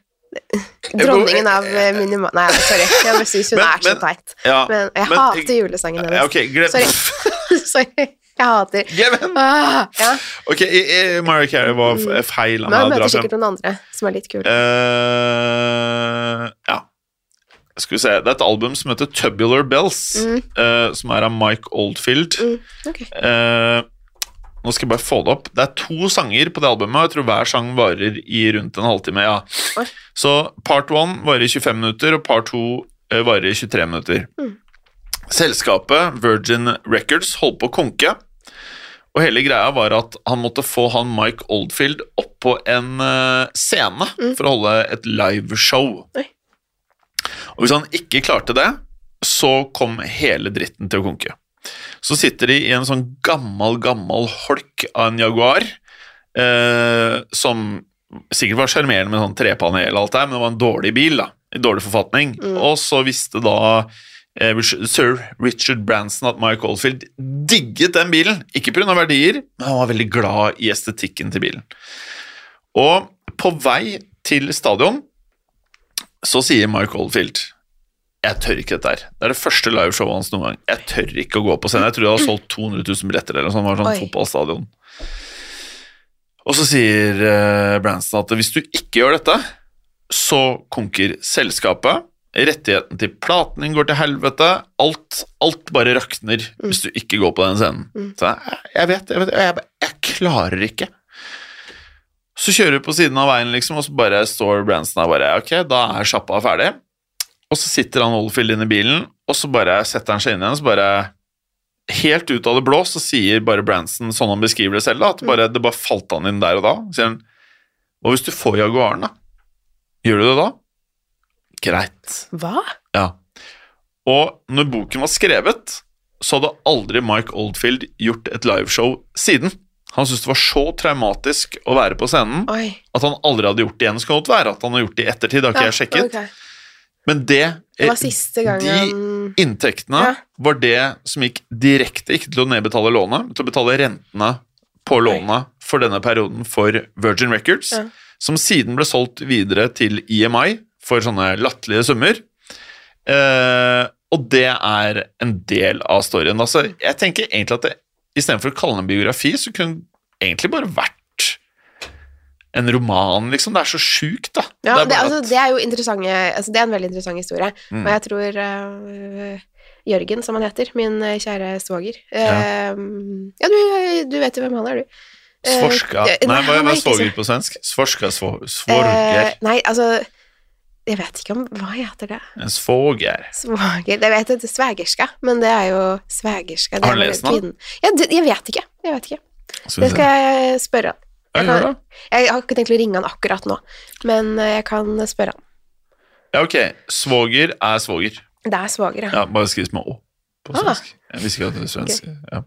Speaker 3: Dronningen av eh, minima... Nei, sorry. Jeg bare syns hun
Speaker 2: Men-
Speaker 3: er så
Speaker 2: men-
Speaker 3: teit.
Speaker 2: ja,
Speaker 3: Men jeg
Speaker 2: men-
Speaker 3: hater julesangen hennes.
Speaker 2: ja, Ok, glem
Speaker 3: Sorry. sorry. Jeg hater
Speaker 2: Gavin!
Speaker 3: ah, ja.
Speaker 2: Ok, eh, eh, Mariah Carey var f- feil av
Speaker 3: Men
Speaker 2: meg å
Speaker 3: hun Mm. møter
Speaker 2: dra frem.
Speaker 3: sikkert noen andre som er litt kule.
Speaker 2: Eh, ja. Skal vi se Det er et album som heter Tubular Bells,
Speaker 3: Mm.
Speaker 2: eh, som er av Mike Oldfield.
Speaker 3: Mm, ok.
Speaker 2: Eh, nå skal jeg bare få det opp. Det er to sanger på det albumet, og jeg tror hver sang varer i rundt en halvtime. ja.
Speaker 3: Oi.
Speaker 2: Så part one varer i 25 minutter, og part to eh, varer i 23 minutter.
Speaker 3: Mm.
Speaker 2: Selskapet Virgin Records holdt på å konke, og hele greia var at han måtte få han Mike Oldfield opp på en eh, scene for å holde et liveshow.
Speaker 3: Mm. Oi.
Speaker 2: Og hvis han ikke klarte det, så kom hele dritten til å konke. Så sitter de i en sånn gammel, gammel holk av en Jaguar, eh, som sikkert var sjarmerende med sånn trepanel og alt det her, men det var en dårlig bil, da. I dårlig forfatning. Og så visste da eh, Rich- sir Richard Branson at Mike Oldfield digget den bilen. Ikke pga. verdier, men han var veldig glad i estetikken til bilen. Og på vei til stadion så sier Mike Oldfield jeg tør ikke dette her. Det er det første liveshowet hans noen gang. Jeg tør ikke å gå på scenen. Jeg tror jeg har solgt 200 000 billetter eller noe sånt. Det var sånn
Speaker 3: Oi.
Speaker 2: fotballstadion. Og så sier eh, Branson at hvis du ikke gjør dette, så konker selskapet. Rettigheten til platen din går til helvete. Alt, alt bare rakner hvis du ikke går på den scenen. Så jeg, jeg vet, jeg vet, jeg, jeg, jeg klarer ikke. Så kjører vi på siden av veien, liksom, og så bare står Branson der bare Ok, da er sjappa ferdig. Og så sitter han Oldfield inne i bilen, og så bare setter han seg inn igjen, så bare Helt ut av det blå så sier bare Branson, sånn han beskriver det selv, da, at bare, det bare falt han inn der og da. Så sier han Hva hvis du får Jaguaren, da? Gjør du det da? Greit.
Speaker 3: Hva?
Speaker 2: Ja. Og når boken var skrevet, så hadde aldri Mike Oldfield gjort et liveshow siden. Han syntes det var så traumatisk å være på scenen
Speaker 3: Oi.
Speaker 2: at han aldri hadde gjort det igjen. Det Skal godt være at han har gjort det i ettertid, det har ikke
Speaker 3: Ja,
Speaker 2: jeg sjekket.
Speaker 3: ok.
Speaker 2: Men det,
Speaker 3: Det var siste gangen
Speaker 2: de inntektene
Speaker 3: Ja.
Speaker 2: var det som gikk direkte, ikke til å nedbetale lånet, men til å betale rentene på lånet for denne perioden for Virgin Records,
Speaker 3: Ja.
Speaker 2: som siden ble solgt videre til EMI for sånne latterlige summer. Eh, og det er en del av storyen. Altså, jeg tenker egentlig at det, istedenfor å kalle det en biografi, så kunne det egentlig bare vært en roman, liksom. Det er så sjukt, da.
Speaker 3: Ja, det,
Speaker 2: bare
Speaker 3: altså,
Speaker 2: at-
Speaker 3: det er jo interessante altså, Det er en veldig interessant historie.
Speaker 2: Mm.
Speaker 3: Og jeg tror eh, Jørgen, som han heter, min eh, kjære svoger eh, Ja, du, du vet jo hvem han er, du. Eh,
Speaker 2: Svorska
Speaker 3: eh,
Speaker 2: Nei, hva
Speaker 3: han
Speaker 2: hva
Speaker 3: er
Speaker 2: er
Speaker 3: ikke
Speaker 2: svoger
Speaker 3: så-
Speaker 2: på svensk? Svorska svo-
Speaker 3: Eh,
Speaker 2: svorger.
Speaker 3: nei, altså Jeg vet ikke om Hva heter det?
Speaker 2: En svoger.
Speaker 3: Svoger Jeg vet det er svegerska, men det er jo svegerska. det
Speaker 2: Har han
Speaker 3: er
Speaker 2: lest
Speaker 3: vel
Speaker 2: den,
Speaker 3: kvinnen. Ja, det- jeg vet ikke. Jeg vet ikke.
Speaker 2: Skal vi
Speaker 3: Det
Speaker 2: se.
Speaker 3: skal jeg spørre han.
Speaker 2: Ja,
Speaker 3: Jeg,
Speaker 2: gjør
Speaker 3: kan, jeg har ikke tenkt å ringe han akkurat nå, men eh, jeg kan spørre han.
Speaker 2: Ja, ok. Svoger er svoger.
Speaker 3: Det er svoger, ja.
Speaker 2: Ja, bare skrives med å på
Speaker 3: Ah.
Speaker 2: svensk. Jeg visste ikke at det var svensk. Ja.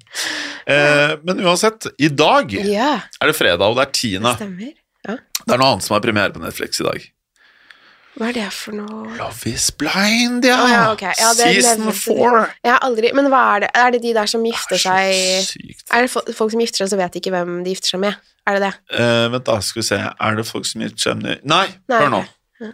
Speaker 2: Eh, men uansett, i dag er
Speaker 3: Ja,
Speaker 2: det fredag, og det er tiende.
Speaker 3: stemmer.
Speaker 2: Det er noe annet som er premiere på Netflix i dag.
Speaker 3: Hva er det for noe
Speaker 2: Love is blind, ja!
Speaker 3: Å, ja, ok. Ja, det
Speaker 2: Season
Speaker 3: nevnte du.
Speaker 2: four! Ah,
Speaker 3: Jeg har aldri Men hva er det? Er det de der som gifter seg
Speaker 2: Så sykt.
Speaker 3: Er det fo- folk som gifter seg, så vet de ikke hvem de gifter seg med? Er det det?
Speaker 2: Eh, vent, da. Skal vi se. Er det folk som gir Chemney Nei,
Speaker 3: Nei,
Speaker 2: hør nå.
Speaker 3: ok.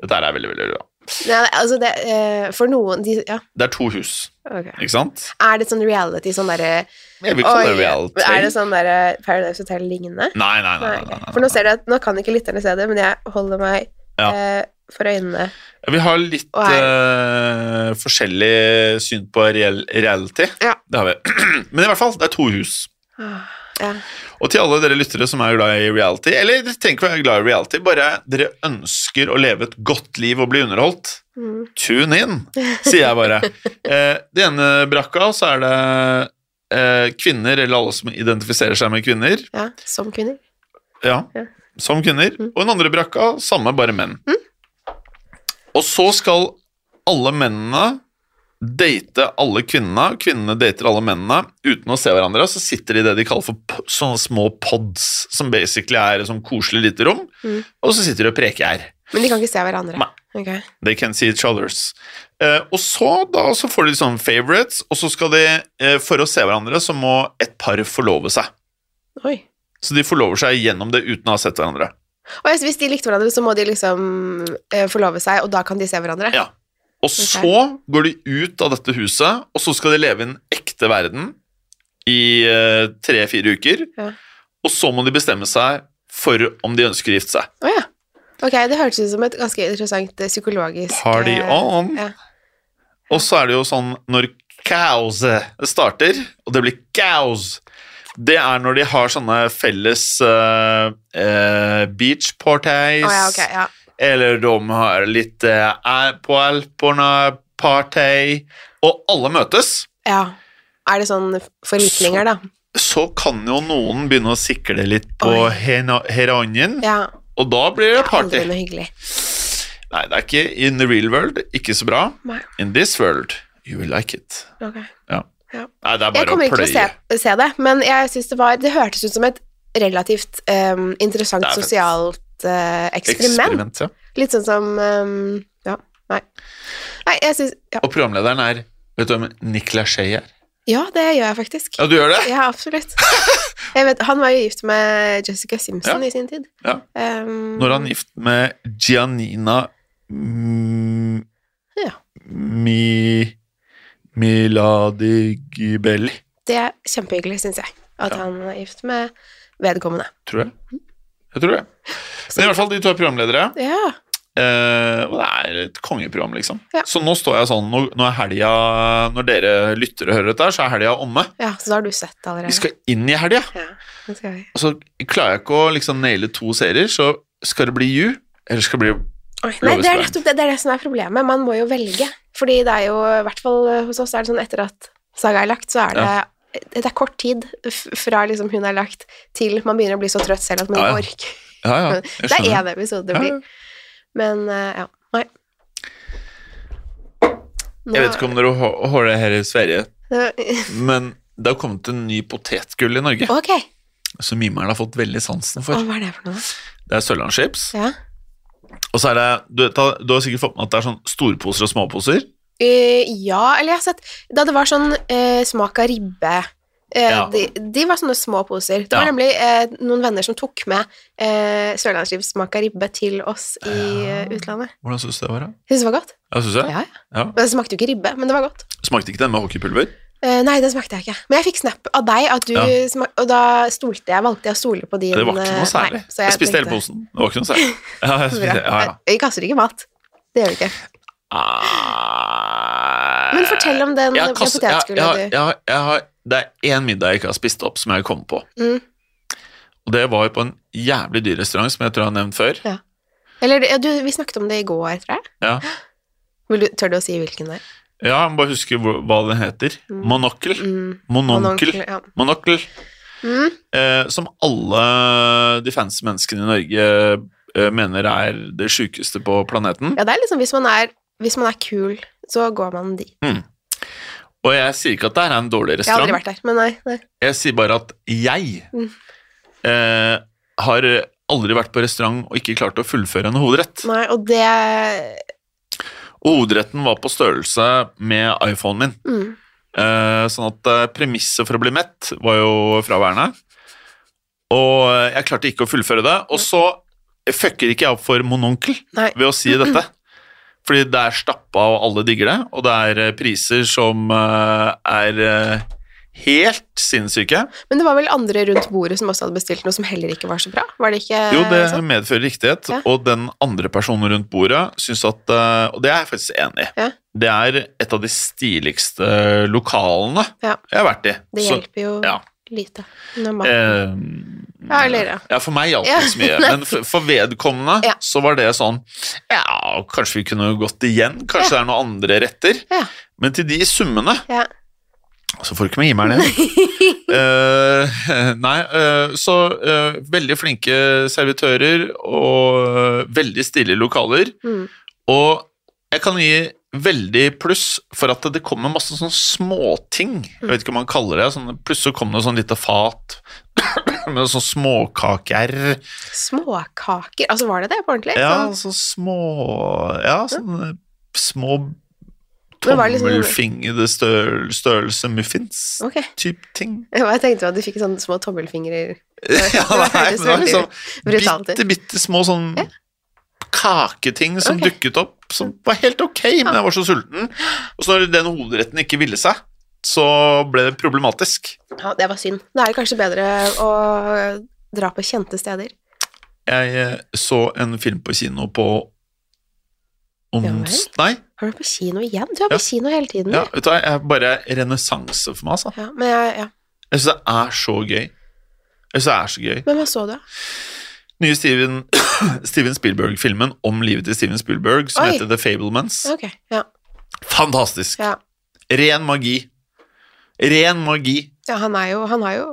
Speaker 2: Dette her er veldig, veldig bra.
Speaker 3: Nei, altså det eh, For noen de, Ja,
Speaker 2: Det er to hus,
Speaker 3: ok.
Speaker 2: ikke sant?
Speaker 3: Er det sånn reality, sånn derre
Speaker 2: Jeg vil ikke kalle det
Speaker 3: Oi,
Speaker 2: reality.
Speaker 3: Er det sånn derre Paradise Hotel-lignende?
Speaker 2: Nei, nei, nei. nei,
Speaker 3: Nei, ok.
Speaker 2: nei,
Speaker 3: For nå ser du at Nå kan ikke lytterne se det, men jeg holder meg
Speaker 2: Ja.
Speaker 3: eh, for øynene.
Speaker 2: nei. Vi har litt
Speaker 3: Og
Speaker 2: eh, forskjellig syn på reell, reality.
Speaker 3: Ja.
Speaker 2: Det har vi. Men i hvert fall, det er to hus.
Speaker 3: Ah, Ja.
Speaker 2: Og til alle dere lyttere som er glad i reality, eller dere trenger ikke være glad i reality, bare dere ønsker å leve et godt liv og bli underholdt,
Speaker 3: Mm.
Speaker 2: tune in, sier jeg bare. Eh, det ene brakka, så er det eh, kvinner, eller alle som identifiserer seg med kvinner,
Speaker 3: ja. Som kvinner.
Speaker 2: ja,
Speaker 3: Ja.
Speaker 2: som kvinner,
Speaker 3: Mm.
Speaker 2: og den andre brakka, samme, bare menn. Og så skal alle mennene date alle kvinnene, kvinnene dater alle mennene, uten å se hverandre, så sitter de i det de kaller for p- sånne små pods, som basically er et sånn koselig lite rom,
Speaker 3: Mm.
Speaker 2: og så sitter de og preker her.
Speaker 3: Men de kan ikke se hverandre.
Speaker 2: Nei.
Speaker 3: Ok.
Speaker 2: They can see each others. Eh, og så da, så får de litt sånn favorites, og så skal de, eh, for å se hverandre, så må et par forlove seg.
Speaker 3: Oi.
Speaker 2: Så de forlover seg gjennom det uten å ha sett hverandre.
Speaker 3: Og jeg- hvis de likte hverandre, så må de liksom eh, forlove seg, og da kan de se hverandre.
Speaker 2: Ja. Og så går de ut av dette huset, og så skal de leve i en ekte verden i eh, tre-fire uker.
Speaker 3: Ja.
Speaker 2: Og så må de bestemme seg for om de ønsker å gifte seg.
Speaker 3: Å ja. Ok, det hørtes ut som et ganske interessant eh, psykologisk
Speaker 2: Party
Speaker 3: eh,
Speaker 2: on!
Speaker 3: ja.
Speaker 2: Og så er det jo sånn når cows starter, og det blir cows det er når de har sånne felles eh, eh, beach parties,
Speaker 3: Å ja, ok, ja.
Speaker 2: eller de har litt eh, på alperne party, og alle møtes.
Speaker 3: ja. Er det sånn forviklinger, da?
Speaker 2: så kan jo noen begynne å sikle litt på
Speaker 3: Oi.
Speaker 2: hena- heroinen,
Speaker 3: Ja.
Speaker 2: og da blir det
Speaker 3: Aldri
Speaker 2: party.
Speaker 3: noe hyggelig.
Speaker 2: Nei, det er ikke in the real world, ikke så bra.
Speaker 3: Nei.
Speaker 2: In this world, you will like it.
Speaker 3: Ok.
Speaker 2: Ja.
Speaker 3: Ja.
Speaker 2: Nei, det er
Speaker 3: Jeg
Speaker 2: bare
Speaker 3: kommer
Speaker 2: å
Speaker 3: ikke til å
Speaker 2: pløye.
Speaker 3: se, se det, men jeg synes det var Det hørtes ut som et relativt ehm, interessant
Speaker 2: Det er fett.
Speaker 3: sosialt eh, eksperiment.
Speaker 2: ja.
Speaker 3: Litt sånn som ehm, Ja, nei. Nei, jeg syns ja.
Speaker 2: Og programlederen er Vet du hvem Nick Lachey er?
Speaker 3: ja, det gjør jeg faktisk.
Speaker 2: Ja, du gjør det?
Speaker 3: Ja, absolutt. Jeg vet, han var jo gift med Jessica Simpson
Speaker 2: Ja.
Speaker 3: i sin tid.
Speaker 2: Ja.
Speaker 3: Ehm,
Speaker 2: Når han er gift med Gianina mm,
Speaker 3: Ja.
Speaker 2: Mi Miladi Gibelli,
Speaker 3: Det er kjempehyggelig, syns jeg, at
Speaker 2: Ja.
Speaker 3: han er gift med vedkommende.
Speaker 2: tror jeg. Jeg tror det. Men i hvert fall de to er programledere.
Speaker 3: Ja.
Speaker 2: Eh, og det er et kongeprogram, liksom.
Speaker 3: Ja.
Speaker 2: Så nå står jeg sånn Nå, nå er helga Når dere lyttere hører dette, her, så er helga omme.
Speaker 3: ja, så da har du sett det
Speaker 2: Vi
Speaker 3: allerede.
Speaker 2: skal inn i helga.
Speaker 3: Ja, det skal vi.
Speaker 2: Og så klarer jeg ikke å liksom naile to serier, så skal det bli You, eller skal det bli
Speaker 3: Oi, nei, det er
Speaker 2: Blåbærstein.
Speaker 3: nettopp det, det er det som er problemet. Man må jo velge. Fordi det er jo, i hvert fall hos oss, er det sånn etter at saga er lagt, så er det Det er kort tid f- fra liksom hun er lagt, til man begynner å bli så trøtt selv at man
Speaker 2: Ja, ja.
Speaker 3: ikke orker.
Speaker 2: Ja, ja. Jeg
Speaker 3: det er
Speaker 2: skjønner.
Speaker 3: én episode det
Speaker 2: Ja,
Speaker 3: blir.
Speaker 2: ja.
Speaker 3: Men eh, ja. Nei.
Speaker 2: Jeg vet ikke om dere hå- hører det her i Sverige,
Speaker 3: om
Speaker 2: men det har kommet en ny potetgull i Norge
Speaker 3: Ok.
Speaker 2: som mimeren har fått veldig sansen
Speaker 3: Å,
Speaker 2: for.
Speaker 3: hva er det for noe?
Speaker 2: Det er Sørlandschips.
Speaker 3: Ja.
Speaker 2: Og så er det du, vet da- du har sikkert fått med at det er sånn storposer og småposer.
Speaker 3: Eh, ja, eller jeg har sett Da det var sånn eh, smak av ribbe eh,
Speaker 2: Ja.
Speaker 3: de, de var sånne små poser. Det var
Speaker 2: Ja.
Speaker 3: nemlig eh, noen venner som tok med eh, sørlandsribbe smak av ribbe til oss i
Speaker 2: Ja.
Speaker 3: eh, utlandet.
Speaker 2: Hvordan syns du det var, da?
Speaker 3: Jeg synes det var godt.
Speaker 2: Ja, synes jeg.
Speaker 3: Ja,
Speaker 2: Ja.
Speaker 3: Men Det smakte jo ikke ribbe, men det var godt.
Speaker 2: Smakte ikke den med hockeypulver?
Speaker 3: Eh, nei, det smakte jeg ikke. Men jeg fikk snap av deg, at du
Speaker 2: Ja.
Speaker 3: smak, og da stolte jeg, valgte jeg å stole på din
Speaker 2: Det var ikke
Speaker 3: eh,
Speaker 2: noe særlig.
Speaker 3: nei, så
Speaker 2: jeg, spiste
Speaker 3: tenkte-
Speaker 2: hele posen. Det var ikke noe særlig. Ja, jeg
Speaker 3: Bra.
Speaker 2: spiste, ja, ja.
Speaker 3: Vi kaster ikke mat. Det gjør vi ikke. Men fortell om den
Speaker 2: Ah. Jeg har
Speaker 3: den
Speaker 2: kastet- jeg-
Speaker 3: potetgullet
Speaker 2: jeg- jeg- jeg har- Det er én middag jeg ikke har spist opp, som jeg kom på.
Speaker 3: du mm.
Speaker 2: Og det var jo på en jævlig dyr restaurant, som jeg tror jeg har nevnt før.
Speaker 3: Eller ja, du, vi snakket om det i går, tror jeg.
Speaker 2: Ja,
Speaker 3: Vil du, tør du å si hvilken det er?
Speaker 2: ja jeg må bare huske hvor, hva den heter.
Speaker 3: Mm.
Speaker 2: Monokkel.
Speaker 3: Mm.
Speaker 2: Mononkel.
Speaker 3: Ja.
Speaker 2: Monokkel.
Speaker 3: Mm.
Speaker 2: Eh, som alle de fancy menneskene i Norge eh, mener er det sjukeste på planeten.
Speaker 3: Ja, det er liksom hvis man er, hvis man er kul, så går man dit.
Speaker 2: Og jeg sier ikke at det her er en dårlig
Speaker 3: Jeg har aldri
Speaker 2: restaurant.
Speaker 3: vært der, men nei. nei.
Speaker 2: Jeg sier bare at jeg
Speaker 3: Mm.
Speaker 2: eh, har aldri vært på restaurant og ikke klart å fullføre en hovedrett.
Speaker 3: nei og det
Speaker 2: Og hovedretten var på størrelse med iPhonen min.
Speaker 3: mm.
Speaker 2: Eh, sånn at eh, premisset for å bli mett var jo fraværende. Og eh, jeg klarte ikke å fullføre det. Og så fucker ikke jeg opp for mononkel
Speaker 3: Nei.
Speaker 2: ved å si dette. Fordi det er stappa, og alle digger det. Og det er eh, priser som eh, er eh, helt sinnssyke.
Speaker 3: Men det var vel andre rundt bordet som også hadde bestilt noe som heller ikke var så bra? Var det ikke
Speaker 2: Jo, det
Speaker 3: sånn?
Speaker 2: medfører riktighet.
Speaker 3: Ja.
Speaker 2: Og den andre personen rundt bordet syns at eh, Og det er jeg faktisk enig i.
Speaker 3: Ja.
Speaker 2: Det er et av de stiligste lokalene
Speaker 3: Ja.
Speaker 2: jeg har vært i.
Speaker 3: Det
Speaker 2: Så-
Speaker 3: hjelper jo
Speaker 2: ja.
Speaker 3: lite. Når man,
Speaker 2: Eh,
Speaker 3: Ja, eller, ja.
Speaker 2: for meg hjalp det
Speaker 3: Ja,
Speaker 2: ikke så mye. Men for, for vedkommende
Speaker 3: Ja.
Speaker 2: så var det sånn Ja, kanskje vi kunne gått igjen? Kanskje det er noen andre retter?
Speaker 3: Ja.
Speaker 2: Men til de summene
Speaker 3: ja.
Speaker 2: Så Altså, får du ikke med gi meg det. Eh, nei, eh, så eh, veldig flinke servitører og eh, veldig stilige lokaler.
Speaker 3: Mm.
Speaker 2: Og jeg kan gi veldig pluss for at det kommer masse sånne småting. Jeg vet ikke om man kaller det sånn, Plutselig kom det sånn lite fat med sånn småkaker.
Speaker 3: Småkaker Altså, var det det på ordentlig?
Speaker 2: Ja,
Speaker 3: Sånn-
Speaker 2: så små Ja, sånne små
Speaker 3: Men var det liksom-
Speaker 2: tommelfingede størrel- størrelse muffins.
Speaker 3: Ok.
Speaker 2: Typ ting.
Speaker 3: Jeg tenkte jo at du fikk sånne små tommelfingre
Speaker 2: Ja,
Speaker 3: det
Speaker 2: nei,
Speaker 3: høres
Speaker 2: men det var
Speaker 3: veldig
Speaker 2: liksom
Speaker 3: brutalt ut.
Speaker 2: bitte, bitte små sånn kaketing som
Speaker 3: Ok.
Speaker 2: dukket opp, som var helt ok, men jeg var så sulten. Og så når den hovedretten ikke ville seg, så ble det problematisk.
Speaker 3: Ja, det var synd. Da er det kanskje bedre å dra på kjente steder.
Speaker 2: Jeg eh, så en film på kino på
Speaker 3: vel. Mm.
Speaker 2: ons... Nei,
Speaker 3: Har du vært på kino igjen? Du er
Speaker 2: Ja.
Speaker 3: på kino hele tiden.
Speaker 2: ja,
Speaker 3: Ja.
Speaker 2: vet du hva, jeg bare renessanse for meg, altså.
Speaker 3: Ja, men, jeg, ja.
Speaker 2: Jeg syns det er så gøy. Jeg synes det er så gøy.
Speaker 3: men hva så du?
Speaker 2: Nye Steven, Steven Spielberg-filmen om livet til Steven Spielberg, som
Speaker 3: Oi.
Speaker 2: heter The Fablements.
Speaker 3: Ok, ja.
Speaker 2: Fantastisk!
Speaker 3: ja.
Speaker 2: Ren magi. Ren magi.
Speaker 3: ja han, er jo, han, har jo,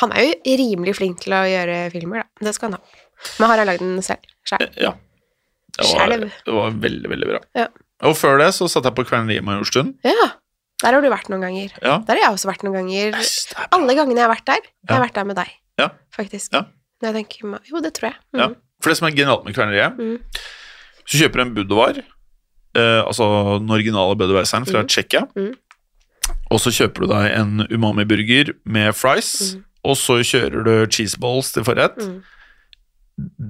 Speaker 3: han er jo rimelig flink til å gjøre filmer, da. Det skal han ha. Men har han lagd den selv? Sjæl?
Speaker 2: Ja. Det var,
Speaker 3: Skjelv.
Speaker 2: det var veldig, veldig bra.
Speaker 3: Ja.
Speaker 2: Og før det så satt jeg på Kverneriet Majorstuen.
Speaker 3: Ja. Der har du vært noen ganger.
Speaker 2: Ja.
Speaker 3: Der har jeg også vært noen ganger.
Speaker 2: Yes, det er bra.
Speaker 3: Alle gangene jeg har vært der, jeg har
Speaker 2: Ja.
Speaker 3: vært der med deg,
Speaker 2: Ja.
Speaker 3: faktisk.
Speaker 2: Ja.
Speaker 3: Når jeg tenker meg Jo, det tror jeg. Mm.
Speaker 2: Ja. For det som er genialt med Kverneriet,
Speaker 3: Mm.
Speaker 2: så kjøper du en budovar, eh, altså den originale budovarseren fra
Speaker 3: Mm.
Speaker 2: Tsjekkia,
Speaker 3: Mm.
Speaker 2: og så kjøper du deg en umami-burger med fries,
Speaker 3: Mm.
Speaker 2: og så kjører du cheeseballs til forrett.
Speaker 3: Mm.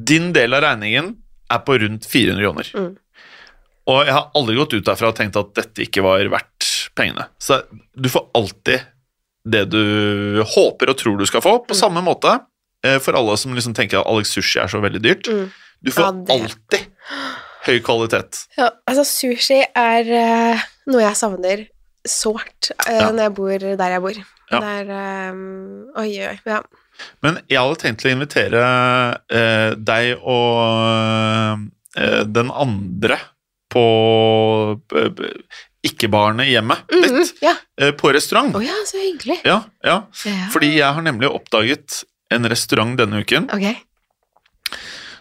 Speaker 2: Din del av regningen er på rundt 400 kroner.
Speaker 3: Mm.
Speaker 2: Og jeg har aldri gått ut derfra og tenkt at dette ikke var verdt pengene. Så du får alltid det du håper og tror du skal få,
Speaker 3: Mm.
Speaker 2: på samme måte. eh, For alle som liksom tenker at Alex sushi er så veldig dyrt.
Speaker 3: Mm.
Speaker 2: Du får
Speaker 3: Ja, det-
Speaker 2: alltid høy kvalitet.
Speaker 3: Ja, altså sushi er eh, noe jeg savner sårt eh,
Speaker 2: Ja.
Speaker 3: når jeg bor der jeg bor.
Speaker 2: Ja.
Speaker 3: Det er eh, Oi, oi, ja.
Speaker 2: Men jeg hadde tenkt til å invitere eh, deg og eh, den andre på eh, ikke-barnet i hjemmet
Speaker 3: Mm, mm,
Speaker 2: ditt
Speaker 3: ja.
Speaker 2: eh, på restaurant.
Speaker 3: Å ja, så hyggelig.
Speaker 2: Ja, ja.
Speaker 3: Ja.
Speaker 2: Fordi jeg har nemlig oppdaget en restaurant denne uken
Speaker 3: Ok.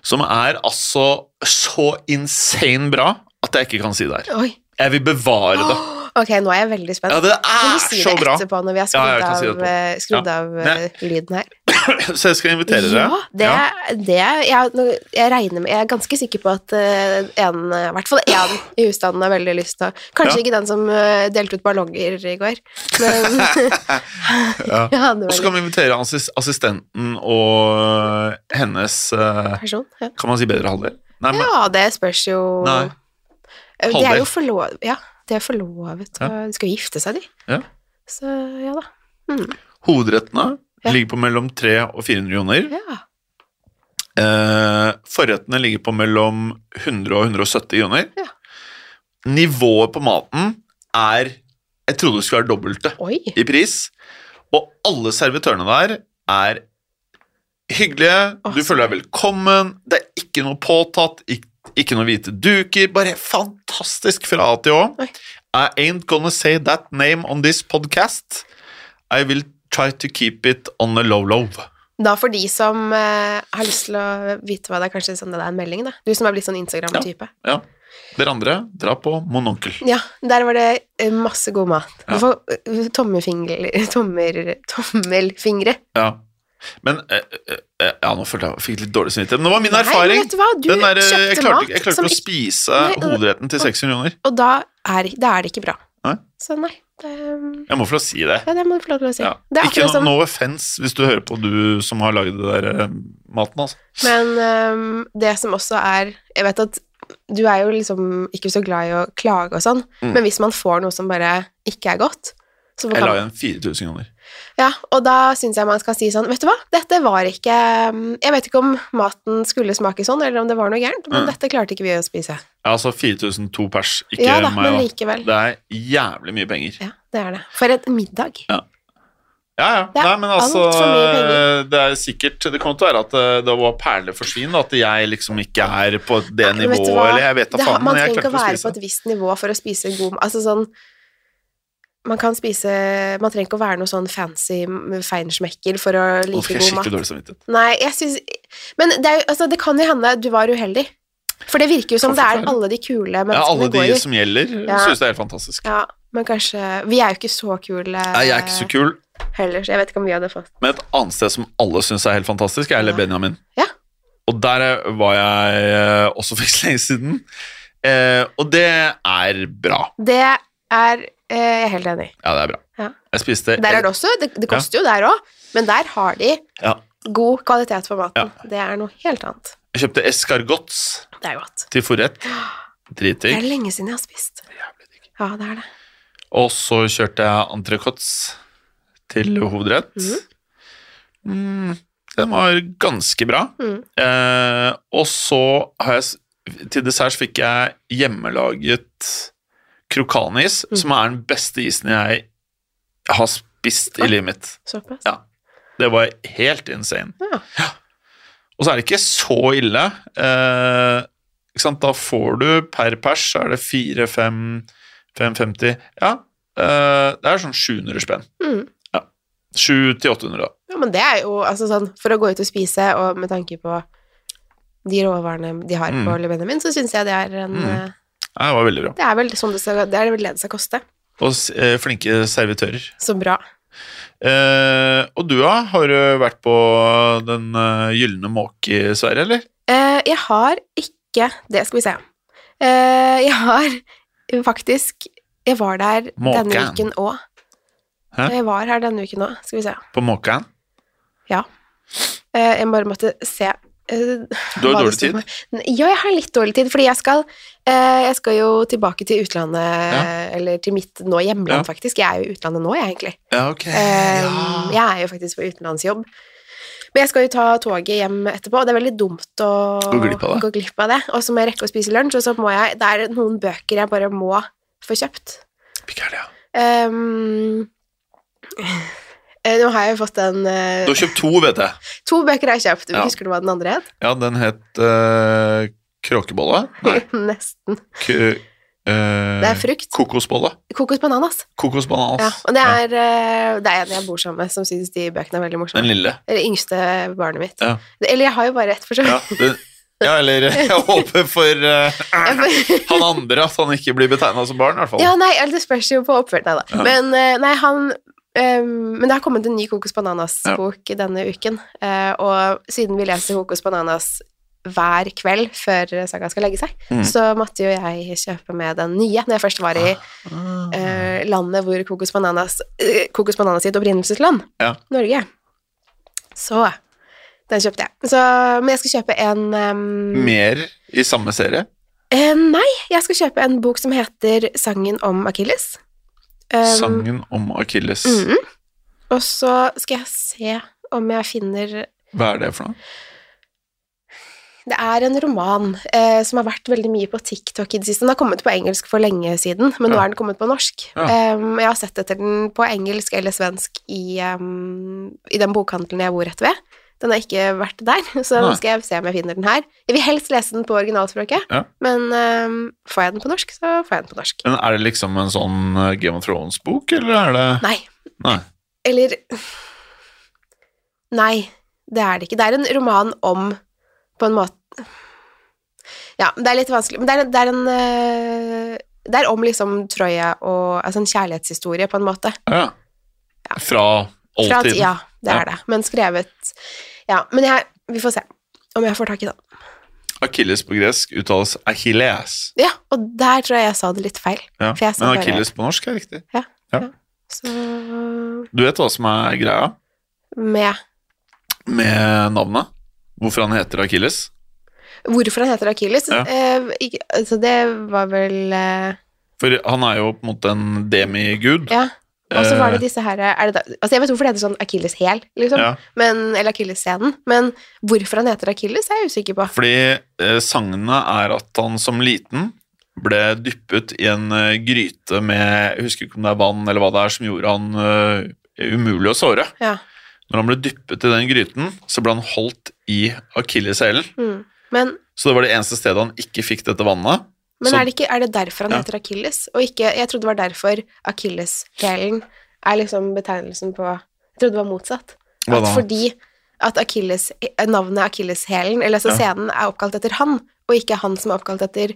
Speaker 2: som er altså så insane bra at jeg ikke kan si det her.
Speaker 3: Oi.
Speaker 2: Jeg vil bevare det.
Speaker 3: Åh, ok, nå er jeg veldig spent.
Speaker 2: Ja, det
Speaker 3: kan
Speaker 2: er
Speaker 3: du si
Speaker 2: så
Speaker 3: det
Speaker 2: bra.
Speaker 3: etterpå når vi har
Speaker 2: Ja, jeg
Speaker 3: skrudd
Speaker 2: kan si det
Speaker 3: av, eh, skrudd av eh,
Speaker 2: Nei.
Speaker 3: lyden her?
Speaker 2: Så jeg skal invitere dere.
Speaker 3: Ja, det, det jeg, nå- jeg regner med Jeg er ganske sikker på at eh, en, eh, i hvert fall én i husstanden har veldig lyst til å Kanskje
Speaker 2: Ja.
Speaker 3: ikke den som eh, delte ut ballonger i går, men
Speaker 2: Ja.
Speaker 3: jeg hadde
Speaker 2: Og så
Speaker 3: vel
Speaker 2: kan vi invitere assis- assistenten og hennes eh,
Speaker 3: en person. Ja.
Speaker 2: Kan man si bedre halvdel? Nei, men
Speaker 3: Ja, det spørs jo
Speaker 2: Nei.
Speaker 3: Eh, De er
Speaker 2: Halvdel.
Speaker 3: jo forlovet Ja, de er forlovet
Speaker 2: Ja.
Speaker 3: og de skal jo gifte seg, de.
Speaker 2: Ja.
Speaker 3: Så ja da. Mm,
Speaker 2: hovedrettene
Speaker 3: Ja.
Speaker 2: ligger på mellom 300 og 400 kroner.
Speaker 3: ja.
Speaker 2: Eh, forrettene ligger på mellom 100 og 170 kroner.
Speaker 3: Ja.
Speaker 2: Nivået på maten er Jeg trodde det skulle være dobbelte
Speaker 3: Oi.
Speaker 2: i pris. Og alle servitørene der er hyggelige.
Speaker 3: Åh,
Speaker 2: Du
Speaker 3: så
Speaker 2: føler deg velkommen. Det er ikke noe påtatt, ikke, ikke noe hvite duker. Bare fantastisk fra A til Å.
Speaker 3: Oi.
Speaker 2: I ain't gonna say that name on this podcast. I will try to keep it on the low low.
Speaker 3: Da for de som eh, har lyst til å vite hva det er, kanskje sende deg en melding, da. Du som er blitt sånn Instagram-type.
Speaker 2: Ja. Dere andre, dra på Mononkel.
Speaker 3: Ja. der var det eh, masse god mat. Du får eh, tommelfingre tommer, Tommelfingre.
Speaker 2: Ja. Men eh, eh, eh, Ja, nå følte jeg jeg fikk litt dårlig samvittighet. Men det var min
Speaker 3: Nei,
Speaker 2: erfaring.
Speaker 3: men vet du hva? Du
Speaker 2: Den der, eh, jeg
Speaker 3: kjøpte
Speaker 2: klarte,
Speaker 3: mat
Speaker 2: ikke- jeg klarte
Speaker 3: som
Speaker 2: ikke å
Speaker 3: ikke
Speaker 2: spise
Speaker 3: Nei, det-
Speaker 2: hovedretten til 600 kroner.
Speaker 3: Og da er, da er det ikke bra.
Speaker 2: Nei.
Speaker 3: Så nei, det,
Speaker 2: Jeg må få lov å si det.
Speaker 3: ja, det må du få lov til å si.
Speaker 2: Ja.
Speaker 3: Det er
Speaker 2: Ikke
Speaker 3: akkurat
Speaker 2: no,
Speaker 3: som
Speaker 2: no offense hvis du hører på, du som har lagd det der eh, maten, altså.
Speaker 3: Men øhm, det som også er Jeg vet at du er jo liksom ikke så glad i å klage og sånn,
Speaker 2: Mm.
Speaker 3: men hvis man får noe som bare ikke er godt, så
Speaker 2: Jeg la
Speaker 3: kan,
Speaker 2: igjen 4000 kroner.
Speaker 3: ja, og da syns jeg man skal si sånn Vet du hva, dette var ikke øhm, Jeg vet ikke om maten skulle smake sånn, eller om det var noe gærent, men
Speaker 2: Mm.
Speaker 3: dette klarte ikke vi å spise.
Speaker 2: Ja, altså 4000 to pers, ikke
Speaker 3: ja da,
Speaker 2: meg.
Speaker 3: men
Speaker 2: da.
Speaker 3: likevel.
Speaker 2: Det er jævlig mye penger.
Speaker 3: Ja, det er det. For en middag.
Speaker 2: Ja, ja.
Speaker 3: Det er
Speaker 2: Nei, men altså
Speaker 3: alt for mye penger.
Speaker 2: Det er sikkert Det kommer til å være at eh, det var perleforsvin, da, at jeg liksom ikke er på det
Speaker 3: Nei, vet
Speaker 2: nivået,
Speaker 3: du hva?
Speaker 2: eller jeg vet da
Speaker 3: Det har-
Speaker 2: faen,
Speaker 3: man
Speaker 2: men jeg
Speaker 3: trenger ikke å
Speaker 2: klarte å
Speaker 3: være på
Speaker 2: spise.
Speaker 3: et visst nivå for å spise god Altså sånn Man kan spise Man trenger ikke å være noe sånn fancy feinschmecker for å
Speaker 2: Nå
Speaker 3: like
Speaker 2: fikk jeg
Speaker 3: god
Speaker 2: skikkelig
Speaker 3: mat.
Speaker 2: dårlig samvittighet.
Speaker 3: Nei, jeg syns Men det, er, jo- altså, det kan jo hende du var uheldig. For det virker jo som
Speaker 2: Kan
Speaker 3: det er
Speaker 2: forklare.
Speaker 3: alle de kule
Speaker 2: Ja,
Speaker 3: menneskene
Speaker 2: alle
Speaker 3: går
Speaker 2: de
Speaker 3: i.
Speaker 2: som gjelder,
Speaker 3: Ja.
Speaker 2: synes syns det er helt fantastisk.
Speaker 3: Ja, men kanskje Vi er jo ikke så kule
Speaker 2: Nei, jeg er ikke så kul,
Speaker 3: heller, så jeg vet ikke om vi hadde fått
Speaker 2: men et annet sted som alle syns er helt fantastisk, er
Speaker 3: Ja.
Speaker 2: Le Benjamin.
Speaker 3: Ja.
Speaker 2: Og der eh, var jeg eh, også for ikke så lenge siden. Eh, og det er bra.
Speaker 3: Det er eh, jeg er helt enig i.
Speaker 2: Ja, det er bra.
Speaker 3: Ja.
Speaker 2: Jeg spiste
Speaker 3: Der er det også Det, det koster jo der òg, men der har de
Speaker 2: Ja.
Speaker 3: god kvalitet på maten. Det er noe helt annet.
Speaker 2: Jeg kjøpte escargots
Speaker 3: Det er godt.
Speaker 2: til forrett.
Speaker 3: Det er
Speaker 2: Dritdigg.
Speaker 3: lenge siden jeg har spist.
Speaker 2: Jævlig digg.
Speaker 3: Ja, det er det.
Speaker 2: Og så kjørte jeg entrecôtes til hovedrett.
Speaker 3: Mhm.
Speaker 2: Mm, den var ganske bra.
Speaker 3: Mm.
Speaker 2: Eh, og så har jeg s- Til dessert så fikk jeg hjemmelaget krokanis,
Speaker 3: Mm.
Speaker 2: som er den beste isen jeg har spist i
Speaker 3: Oi.
Speaker 2: livet mitt.
Speaker 3: Såpass.
Speaker 2: Ja. Det var helt insane.
Speaker 3: Ja.
Speaker 2: Og så er det ikke så ille. Eh, ikke sant? Da får du per pers, så er det 4-5-550 Ja, eh, det er sånn 700 spenn.
Speaker 3: Mm.
Speaker 2: 700-800, da.
Speaker 3: ja, men det er jo altså sånn For å gå ut og spise, og med tanke på de råvarene de har på
Speaker 2: Mm.
Speaker 3: Le Benjamin, så syns jeg det er en
Speaker 2: Mm.
Speaker 3: eh,
Speaker 2: Nei, det var veldig bra.
Speaker 3: Det er vel sånn det skal Det er vel det det skal koste.
Speaker 2: Og s- eh, flinke servitører.
Speaker 3: Så bra.
Speaker 2: Eh, og du, da? Har du vært på Den eh, gylne måke i Sverige, eller?
Speaker 3: Eh, jeg har ikke Det skal vi se. Eh, jeg har faktisk Jeg var der denne
Speaker 2: Måken.
Speaker 3: uken òg.
Speaker 2: Hæ?
Speaker 3: Jeg var her denne uken òg, skal vi se.
Speaker 2: På Måkan?
Speaker 3: Eh, jeg bare måtte se eh,
Speaker 2: Du har
Speaker 3: hva
Speaker 2: jo
Speaker 3: det
Speaker 2: dårlig
Speaker 3: sto
Speaker 2: tid.
Speaker 3: på. N- Ja, jeg har litt dårlig tid, fordi jeg skal, eh, jeg skal jo tilbake til utlandet,
Speaker 2: Ja.
Speaker 3: eller til mitt nå
Speaker 2: Ja.
Speaker 3: hjemland, faktisk. Jeg er jo i utlandet nå, jeg, egentlig.
Speaker 2: Ja, ok.
Speaker 3: Eh,
Speaker 2: ja.
Speaker 3: Jeg er jo faktisk på utenlandsjobb. Men jeg skal jo ta toget hjem etterpå, og det er veldig dumt å
Speaker 2: Gå glipp av det.
Speaker 3: gå glipp av det. Og så må jeg rekke å spise lunsj, og så må jeg Det er noen bøker jeg bare må få kjøpt.
Speaker 2: Hvilke er det, ja?
Speaker 3: Ehm, eh, nå har jeg jo fått den eh,
Speaker 2: Du har kjøpt to, vet jeg.
Speaker 3: To bøker har jeg kjøpt.
Speaker 2: Ja.
Speaker 3: Husker du hva den andre het?
Speaker 2: Ja, den het eh, Kråkebolle? Nei.
Speaker 3: Nesten.
Speaker 2: K eh,
Speaker 3: Det er frukt.
Speaker 2: Kokosbolle.
Speaker 3: Kokosbananas.
Speaker 2: Kokosbananas.
Speaker 3: Ja, og det er, eh, det er en jeg bor sammen med, som syns de bøkene er veldig
Speaker 2: Den
Speaker 3: morsomme.
Speaker 2: lille.
Speaker 3: Eller yngste barnet mitt.
Speaker 2: Ja.
Speaker 3: Eller jeg har jo bare ett, for så
Speaker 2: Ja,
Speaker 3: vidt.
Speaker 2: den, ja eller jeg håper for eh, han andre at han ikke blir betegna som barn, i hvert fall.
Speaker 3: Ja, nei, eller det spørs jo på oppførselen, da.
Speaker 2: Ja.
Speaker 3: Men, eh, nei, han, eh, men det har kommet en ny Kokos Bananas-bok denne uken, eh, og siden vi leser Kokos Bananas hver kveld før Saga skal legge seg,
Speaker 2: Mm.
Speaker 3: så måtte jo jeg kjøpe med den nye når jeg først var i
Speaker 2: Ah.
Speaker 3: eh, landet hvor Kokos Bananas eh, Kokos Bananas sitt opprinnelsesland,
Speaker 2: Ja.
Speaker 3: Norge. Så den kjøpte jeg. Så, men jeg skal kjøpe en ehm,
Speaker 2: Mer i samme serie.
Speaker 3: eh, Nei, jeg skal kjøpe en bok som heter 'Sangen om Akilles'. Ehm,
Speaker 2: Sangen om Akilles.
Speaker 3: mhm. Og så skal jeg se om jeg finner
Speaker 2: Hva er det for noe?
Speaker 3: Det er en roman eh, som har vært veldig mye på TikTok i det siste. Den har kommet på engelsk for lenge siden, men nå
Speaker 2: Ja.
Speaker 3: er den kommet på norsk.
Speaker 2: Ja.
Speaker 3: Em, jeg har sett etter den på engelsk eller svensk i, em, i den bokhandelen jeg bor rett ved. Den har ikke vært der, så nå
Speaker 2: Nei.
Speaker 3: skal jeg se om jeg finner den her. Jeg vil helst lese den på originalspråket,
Speaker 2: Ja.
Speaker 3: men em, får jeg den på norsk, så får jeg den på norsk.
Speaker 2: Men er det liksom en sånn eh, Game of Thrones-bok, eller er det
Speaker 3: Nei.
Speaker 2: Nei.
Speaker 3: Eller Nei. Det er det ikke. Det er en roman om på en måte Ja, det er litt vanskelig Men det er, det er en eh, Det er om liksom Troja og Altså en kjærlighetshistorie, på en måte.
Speaker 2: Ja. Fra
Speaker 3: Fra at-
Speaker 2: oldtiden.
Speaker 3: Ja, det
Speaker 2: Ja.
Speaker 3: er det. Men skrevet Ja. Men jeg, vi får se om jeg får tak i den.
Speaker 2: Akilles på gresk uttales Achilles.
Speaker 3: Ja, og der tror jeg jeg sa det litt feil.
Speaker 2: Ja.
Speaker 3: For jeg sa
Speaker 2: Men
Speaker 3: bare-
Speaker 2: Achilles på norsk er riktig.
Speaker 3: Så
Speaker 2: Du vet hva som er greia
Speaker 3: med
Speaker 2: med navnet? Hvorfor han heter Achilles?
Speaker 3: Hvorfor han heter Akilles?
Speaker 2: Ja.
Speaker 3: Eh, ikke, altså det var vel eh,
Speaker 2: For han er jo på en måte en demigud.
Speaker 3: Ja. Og så var det
Speaker 2: Eh,
Speaker 3: disse her er det da, Altså jeg vet hvorfor det heter sånn Akilles-hæl, liksom.
Speaker 2: ja.
Speaker 3: Men, eller Akilles-scenen. Men hvorfor han heter Akilles, er jeg usikker på.
Speaker 2: Fordi eh, sangene er at han som liten ble dyppet i en eh, gryte med Jeg husker ikke om det er vann eller hva det er som gjorde han eh, umulig å såre.
Speaker 3: Ja.
Speaker 2: Når han ble dyppet i den gryten, så ble han holdt i akilleshælen.
Speaker 3: Mm. Men,
Speaker 2: Så det var det eneste stedet han ikke fikk dette vannet.
Speaker 3: men
Speaker 2: Så-
Speaker 3: er, det ikke, er det derfor han
Speaker 2: Ja.
Speaker 3: heter Akilles? Og ikke Jeg trodde det var derfor Akilles-hælen er liksom betegnelsen på Jeg trodde det var motsatt.
Speaker 2: Hva
Speaker 3: At
Speaker 2: da?
Speaker 3: fordi at Achilles, eh, navnet Akilles-hælen, eller altså
Speaker 2: Ja.
Speaker 3: scenen, er oppkalt etter han, og ikke han som er oppkalt etter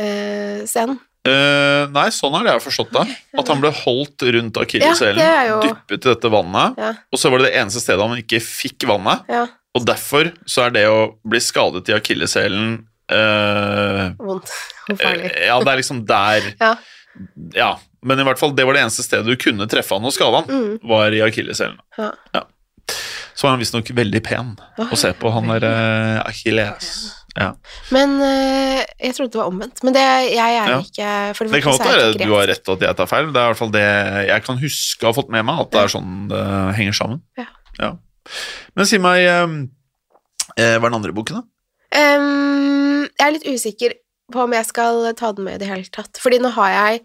Speaker 3: eh, scenen.
Speaker 2: Eh, nei, sånn har jeg forstått det. At han ble holdt rundt akilleshælen,
Speaker 3: Ja, det er jo-
Speaker 2: dyppet i dette vannet,
Speaker 3: Ja,
Speaker 2: og så var det det eneste stedet han ikke fikk vannet.
Speaker 3: ja.
Speaker 2: Og derfor så er det å bli skadet i akilleshælen eh,
Speaker 3: Vondt og farlig.
Speaker 2: Eh, Ja, det er liksom der
Speaker 3: Ja.
Speaker 2: Ja, Men i hvert fall, det var det eneste stedet du kunne treffe han og skade han,
Speaker 3: Mm.
Speaker 2: var i akilleshælen.
Speaker 3: Ja.
Speaker 2: Ja. Så var han visstnok veldig pen å se på, han der eh, Achilles. Ja.
Speaker 3: Men eh, jeg trodde det var omvendt. Men det, jeg er
Speaker 2: Ja.
Speaker 3: ikke For det
Speaker 2: Det kan godt
Speaker 3: første så er
Speaker 2: være
Speaker 3: jeg
Speaker 2: at
Speaker 3: ikke
Speaker 2: du har rett og at jeg tar feil. Det er i hvert fall det jeg kan huske å ha fått med meg, at det er sånn det henger sammen.
Speaker 3: Ja.
Speaker 2: Men si meg eh, eh, Hva er den andre boken, da?
Speaker 3: Ehm, jeg er litt usikker på om jeg skal ta den med i det hele tatt. Fordi nå har jeg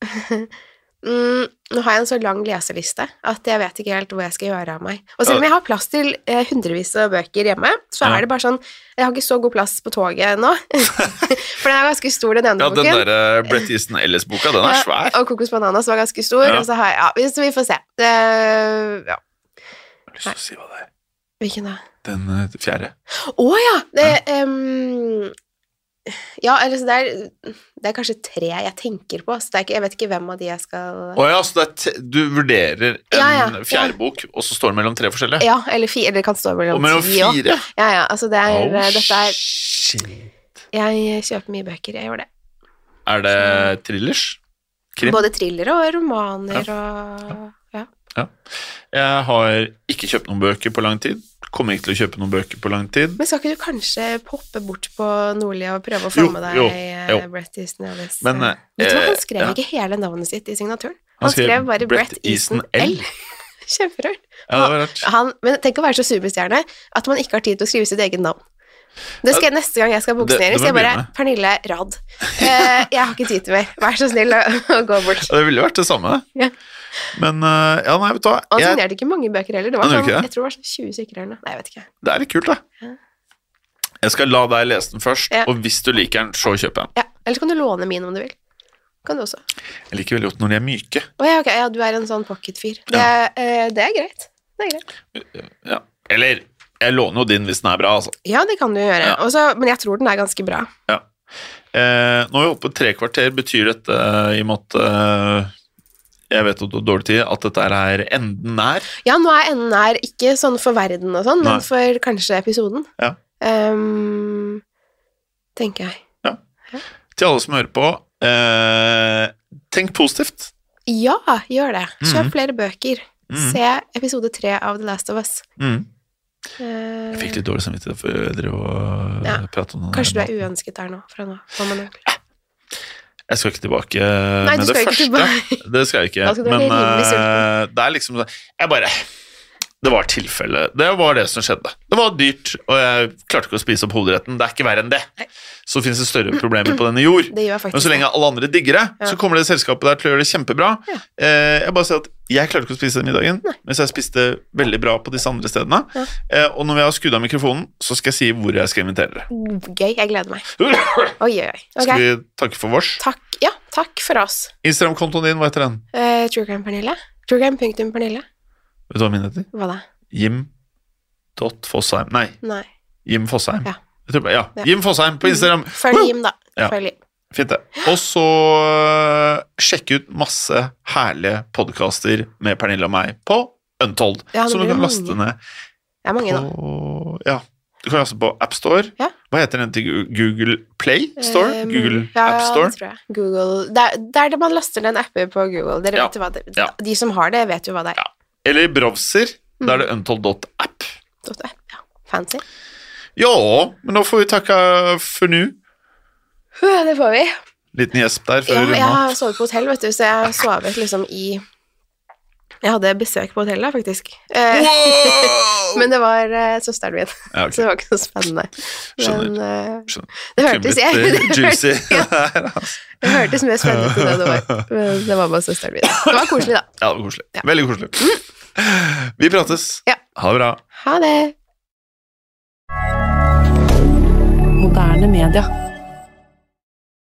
Speaker 3: mm, Nå har jeg en så lang leseliste at jeg vet ikke helt hvor jeg skal gjøre av meg. Og selv om jeg har plass til eh, hundrevis av bøker hjemme, så
Speaker 2: Ja.
Speaker 3: er det bare sånn Jeg har ikke så god plass på toget nå. For den er ganske stor, den ene
Speaker 2: Ja, Den
Speaker 3: boken.
Speaker 2: der eh, Brett Easton Ellis-boka, den er
Speaker 3: Ja,
Speaker 2: svær.
Speaker 3: Og Kokos Bananas var ganske stor.
Speaker 2: Ja.
Speaker 3: Og så har jeg, ja, så vi får se. Eh, ja.
Speaker 2: Jeg har lyst til å si hva det er.
Speaker 3: Hvilken da?
Speaker 2: Den eh, fjerde.
Speaker 3: Å ja! Det, ehm, ja, eller så det er, det er kanskje tre jeg tenker på, så det er ikke, jeg vet ikke hvem av de jeg skal
Speaker 2: Å ja, så det er te du vurderer en
Speaker 3: Ja, ja,
Speaker 2: fjerde
Speaker 3: ja.
Speaker 2: bok, og så står det mellom tre forskjellige?
Speaker 3: Ja, eller fire. Det kan stå
Speaker 2: og
Speaker 3: mellom
Speaker 2: mellom
Speaker 3: ti og
Speaker 2: fire?
Speaker 3: Ja, ja, altså det er
Speaker 2: Oh,
Speaker 3: Dette er
Speaker 2: shit.
Speaker 3: Jeg kjøper mye bøker, jeg gjør det.
Speaker 2: Er det thrillers? Krim?
Speaker 3: Både thrillere og romaner og ja.
Speaker 2: Jeg har ikke kjøpt noen bøker på lang tid. Kommer ikke til å kjøpe noen bøker på lang tid.
Speaker 3: Men skal ikke du kanskje poppe bort på Nordli og prøve å få
Speaker 2: Jo,
Speaker 3: med
Speaker 2: jo,
Speaker 3: deg eh,
Speaker 2: jo.
Speaker 3: Brett Easton Ellis?
Speaker 2: Men,
Speaker 3: eh, Vet du hva,
Speaker 2: eh,
Speaker 3: han skrev
Speaker 2: ja.
Speaker 3: ikke hele navnet sitt i signaturen. Han,
Speaker 2: Han skrev
Speaker 3: skrev bare
Speaker 2: Brett
Speaker 3: Brett Easton L.
Speaker 2: Easton L.
Speaker 3: Kjemperart.
Speaker 2: Ja, det var rart.
Speaker 3: han, men tenk å være så superstjerne at man ikke har tid til å skrive sitt eget navn. Det skal jeg Neste gang jeg skal
Speaker 2: Det- det
Speaker 3: boksenere,
Speaker 2: må
Speaker 3: så jeg
Speaker 2: jeg
Speaker 3: bare
Speaker 2: begynne med.
Speaker 3: Pernille Rad. Eh, jeg har ikke tid til mer. Vær så snill å, å gå bort.
Speaker 2: Ja, Det ville jo vært det samme.
Speaker 3: Ja. sånn,
Speaker 2: Men eh, ja, nei, vet du hva.
Speaker 3: Han
Speaker 2: Jeg,
Speaker 3: signerte ikke mange bøker heller. Det var
Speaker 2: Han gjorde
Speaker 3: sånn,
Speaker 2: ikke det?
Speaker 3: jeg tror det var sånn 20 stykker eller noe. Nei, jeg vet ikke.
Speaker 2: det er litt kult, det.
Speaker 3: Ja.
Speaker 2: Jeg skal la deg lese den først,
Speaker 3: Ja.
Speaker 2: og hvis du liker den, så kjøp en.
Speaker 3: Ja. Eller så kan du låne min om du vil. Kan du også.
Speaker 2: Jeg liker veldig godt når de er myke.
Speaker 3: Å ja, ok. Ja, du er en sånn pocketfyr. Det, eh, det er greit. Det er greit.
Speaker 2: Ja. Eller jeg låner jo din hvis den er bra, altså.
Speaker 3: Ja, det kan du gjøre.
Speaker 2: Ja.
Speaker 3: Og så- men jeg tror den er ganske bra.
Speaker 2: Ja. Eh, nå er vi oppe på tre kvarter. Betyr dette, eh, i og med at eh, jeg vet at du har dårlig tid, at dette her er enden nær?
Speaker 3: Ja, nå er enden her ikke sånn for verden og sånn,
Speaker 2: Nei.
Speaker 3: men for kanskje episoden.
Speaker 2: Ja.
Speaker 3: Ehm, tenker jeg.
Speaker 2: Til alle som hører på, eh, tenk positivt.
Speaker 3: Ja, gjør det. Kjøp
Speaker 2: Mhm.
Speaker 3: flere bøker.
Speaker 2: Mhm.
Speaker 3: Se episode tre av The Last of Us.
Speaker 2: Mm.
Speaker 3: Eh,
Speaker 2: Jeg fikk litt dårlig samvittighet for å drive og
Speaker 3: Ja.
Speaker 2: prate om det.
Speaker 3: kanskje du er uønsket der nå, fra nå. Hva man egentlig-
Speaker 2: Jeg skal ikke tilbake
Speaker 3: Nei, du
Speaker 2: med det
Speaker 3: skal
Speaker 2: første.
Speaker 3: ikke tilbake.
Speaker 2: Det skal jeg ikke.
Speaker 3: Da skal du
Speaker 2: Men
Speaker 3: bli rimelig
Speaker 2: eh, det er liksom Jeg bare Det var tilfelle. Det var det som skjedde. Det var dyrt, og jeg klarte ikke å spise opp hovedretten. Det er ikke verre enn det. Så fins det større problemer på denne jord.
Speaker 3: Det gjør jeg
Speaker 2: Men
Speaker 3: faktisk.
Speaker 2: så lenge alle andre digger det, så kommer det selskapet der til å gjøre det kjempebra.
Speaker 3: Ja.
Speaker 2: Eh, jeg bare sier at jeg klarte ikke å spise den middagen, mens jeg spiste veldig bra på disse andre stedene.
Speaker 3: Ja.
Speaker 2: Eh, og når vi har skrudd av mikrofonen, så skal jeg si hvor jeg skal invitere dere.
Speaker 3: det. Gøy. Jeg gleder meg. Oi, oi, oi. Ok.
Speaker 2: Skal vi takke for vårs?
Speaker 3: Takk. Ja, takk for oss.
Speaker 2: Instagram-kontoen din, hva heter den?
Speaker 3: Eh, True Crime Pernille. Truecrime.pernille.
Speaker 2: Vet du hva min heter?
Speaker 3: Hva da?
Speaker 2: Jim Dot Fosheim Nei,
Speaker 3: Nei.
Speaker 2: Jim Fosheim.
Speaker 3: Ja.
Speaker 2: Jeg tror, bare- ja.
Speaker 3: Ja. Mm.
Speaker 2: Jim Fosheim på Instagram.
Speaker 3: Følg Jim, da.
Speaker 2: Ja.
Speaker 3: Følg Jim.
Speaker 2: Fint, det. Og så øh, sjekk ut masse herlige podkaster med Pernille og meg på Untold,
Speaker 3: Ja, det
Speaker 2: som du
Speaker 3: blir
Speaker 2: kan
Speaker 3: mange.
Speaker 2: laste ned
Speaker 3: Det er mange, da.
Speaker 2: på Ja. Du kan laste på AppStore.
Speaker 3: Ja.
Speaker 2: Hva heter den til Gu- Google Play Store?
Speaker 3: Um,
Speaker 2: Google
Speaker 3: ja,
Speaker 2: App Store?
Speaker 3: det tror jeg. Google. Det er, det er det man laster ned apper på Google. Dere
Speaker 2: Ja.
Speaker 3: vet jo hva det,
Speaker 2: Ja.
Speaker 3: De som har det, vet jo hva det er.
Speaker 2: Ja. Eller i browser. Da er det untold.app.
Speaker 3: Dot app, Ja. Fancy.
Speaker 2: Ja, men da får vi takka for nå.
Speaker 3: Huh, Det får vi.
Speaker 2: Liten gjesp der før
Speaker 3: Ja,
Speaker 2: vi
Speaker 3: men jeg
Speaker 2: runder av.
Speaker 3: har sovet på hotell, vet du, så jeg har sovet liksom i Jeg hadde besøk på hotellet, faktisk. Eh,
Speaker 2: Wow!
Speaker 3: men det var eh, søsteren min,
Speaker 2: Ja, ok.
Speaker 3: så det var ikke så spennende.
Speaker 2: Skjønner.
Speaker 3: Men eh,
Speaker 2: Skjønner.
Speaker 3: det
Speaker 2: Kunne
Speaker 3: hørtes
Speaker 2: blitt,
Speaker 3: jeg
Speaker 2: eh,
Speaker 3: det hørtes,
Speaker 2: Juicy.
Speaker 3: ja,
Speaker 2: ja,
Speaker 3: det hørtes mer spennende ut enn det var. Men det var bare søsteren min. Det var koselig, da.
Speaker 2: det var koselig. Veldig koselig. Vi prates.
Speaker 3: Mm. Ja.
Speaker 2: Ha det bra.
Speaker 3: Ha det.
Speaker 1: Moderne media.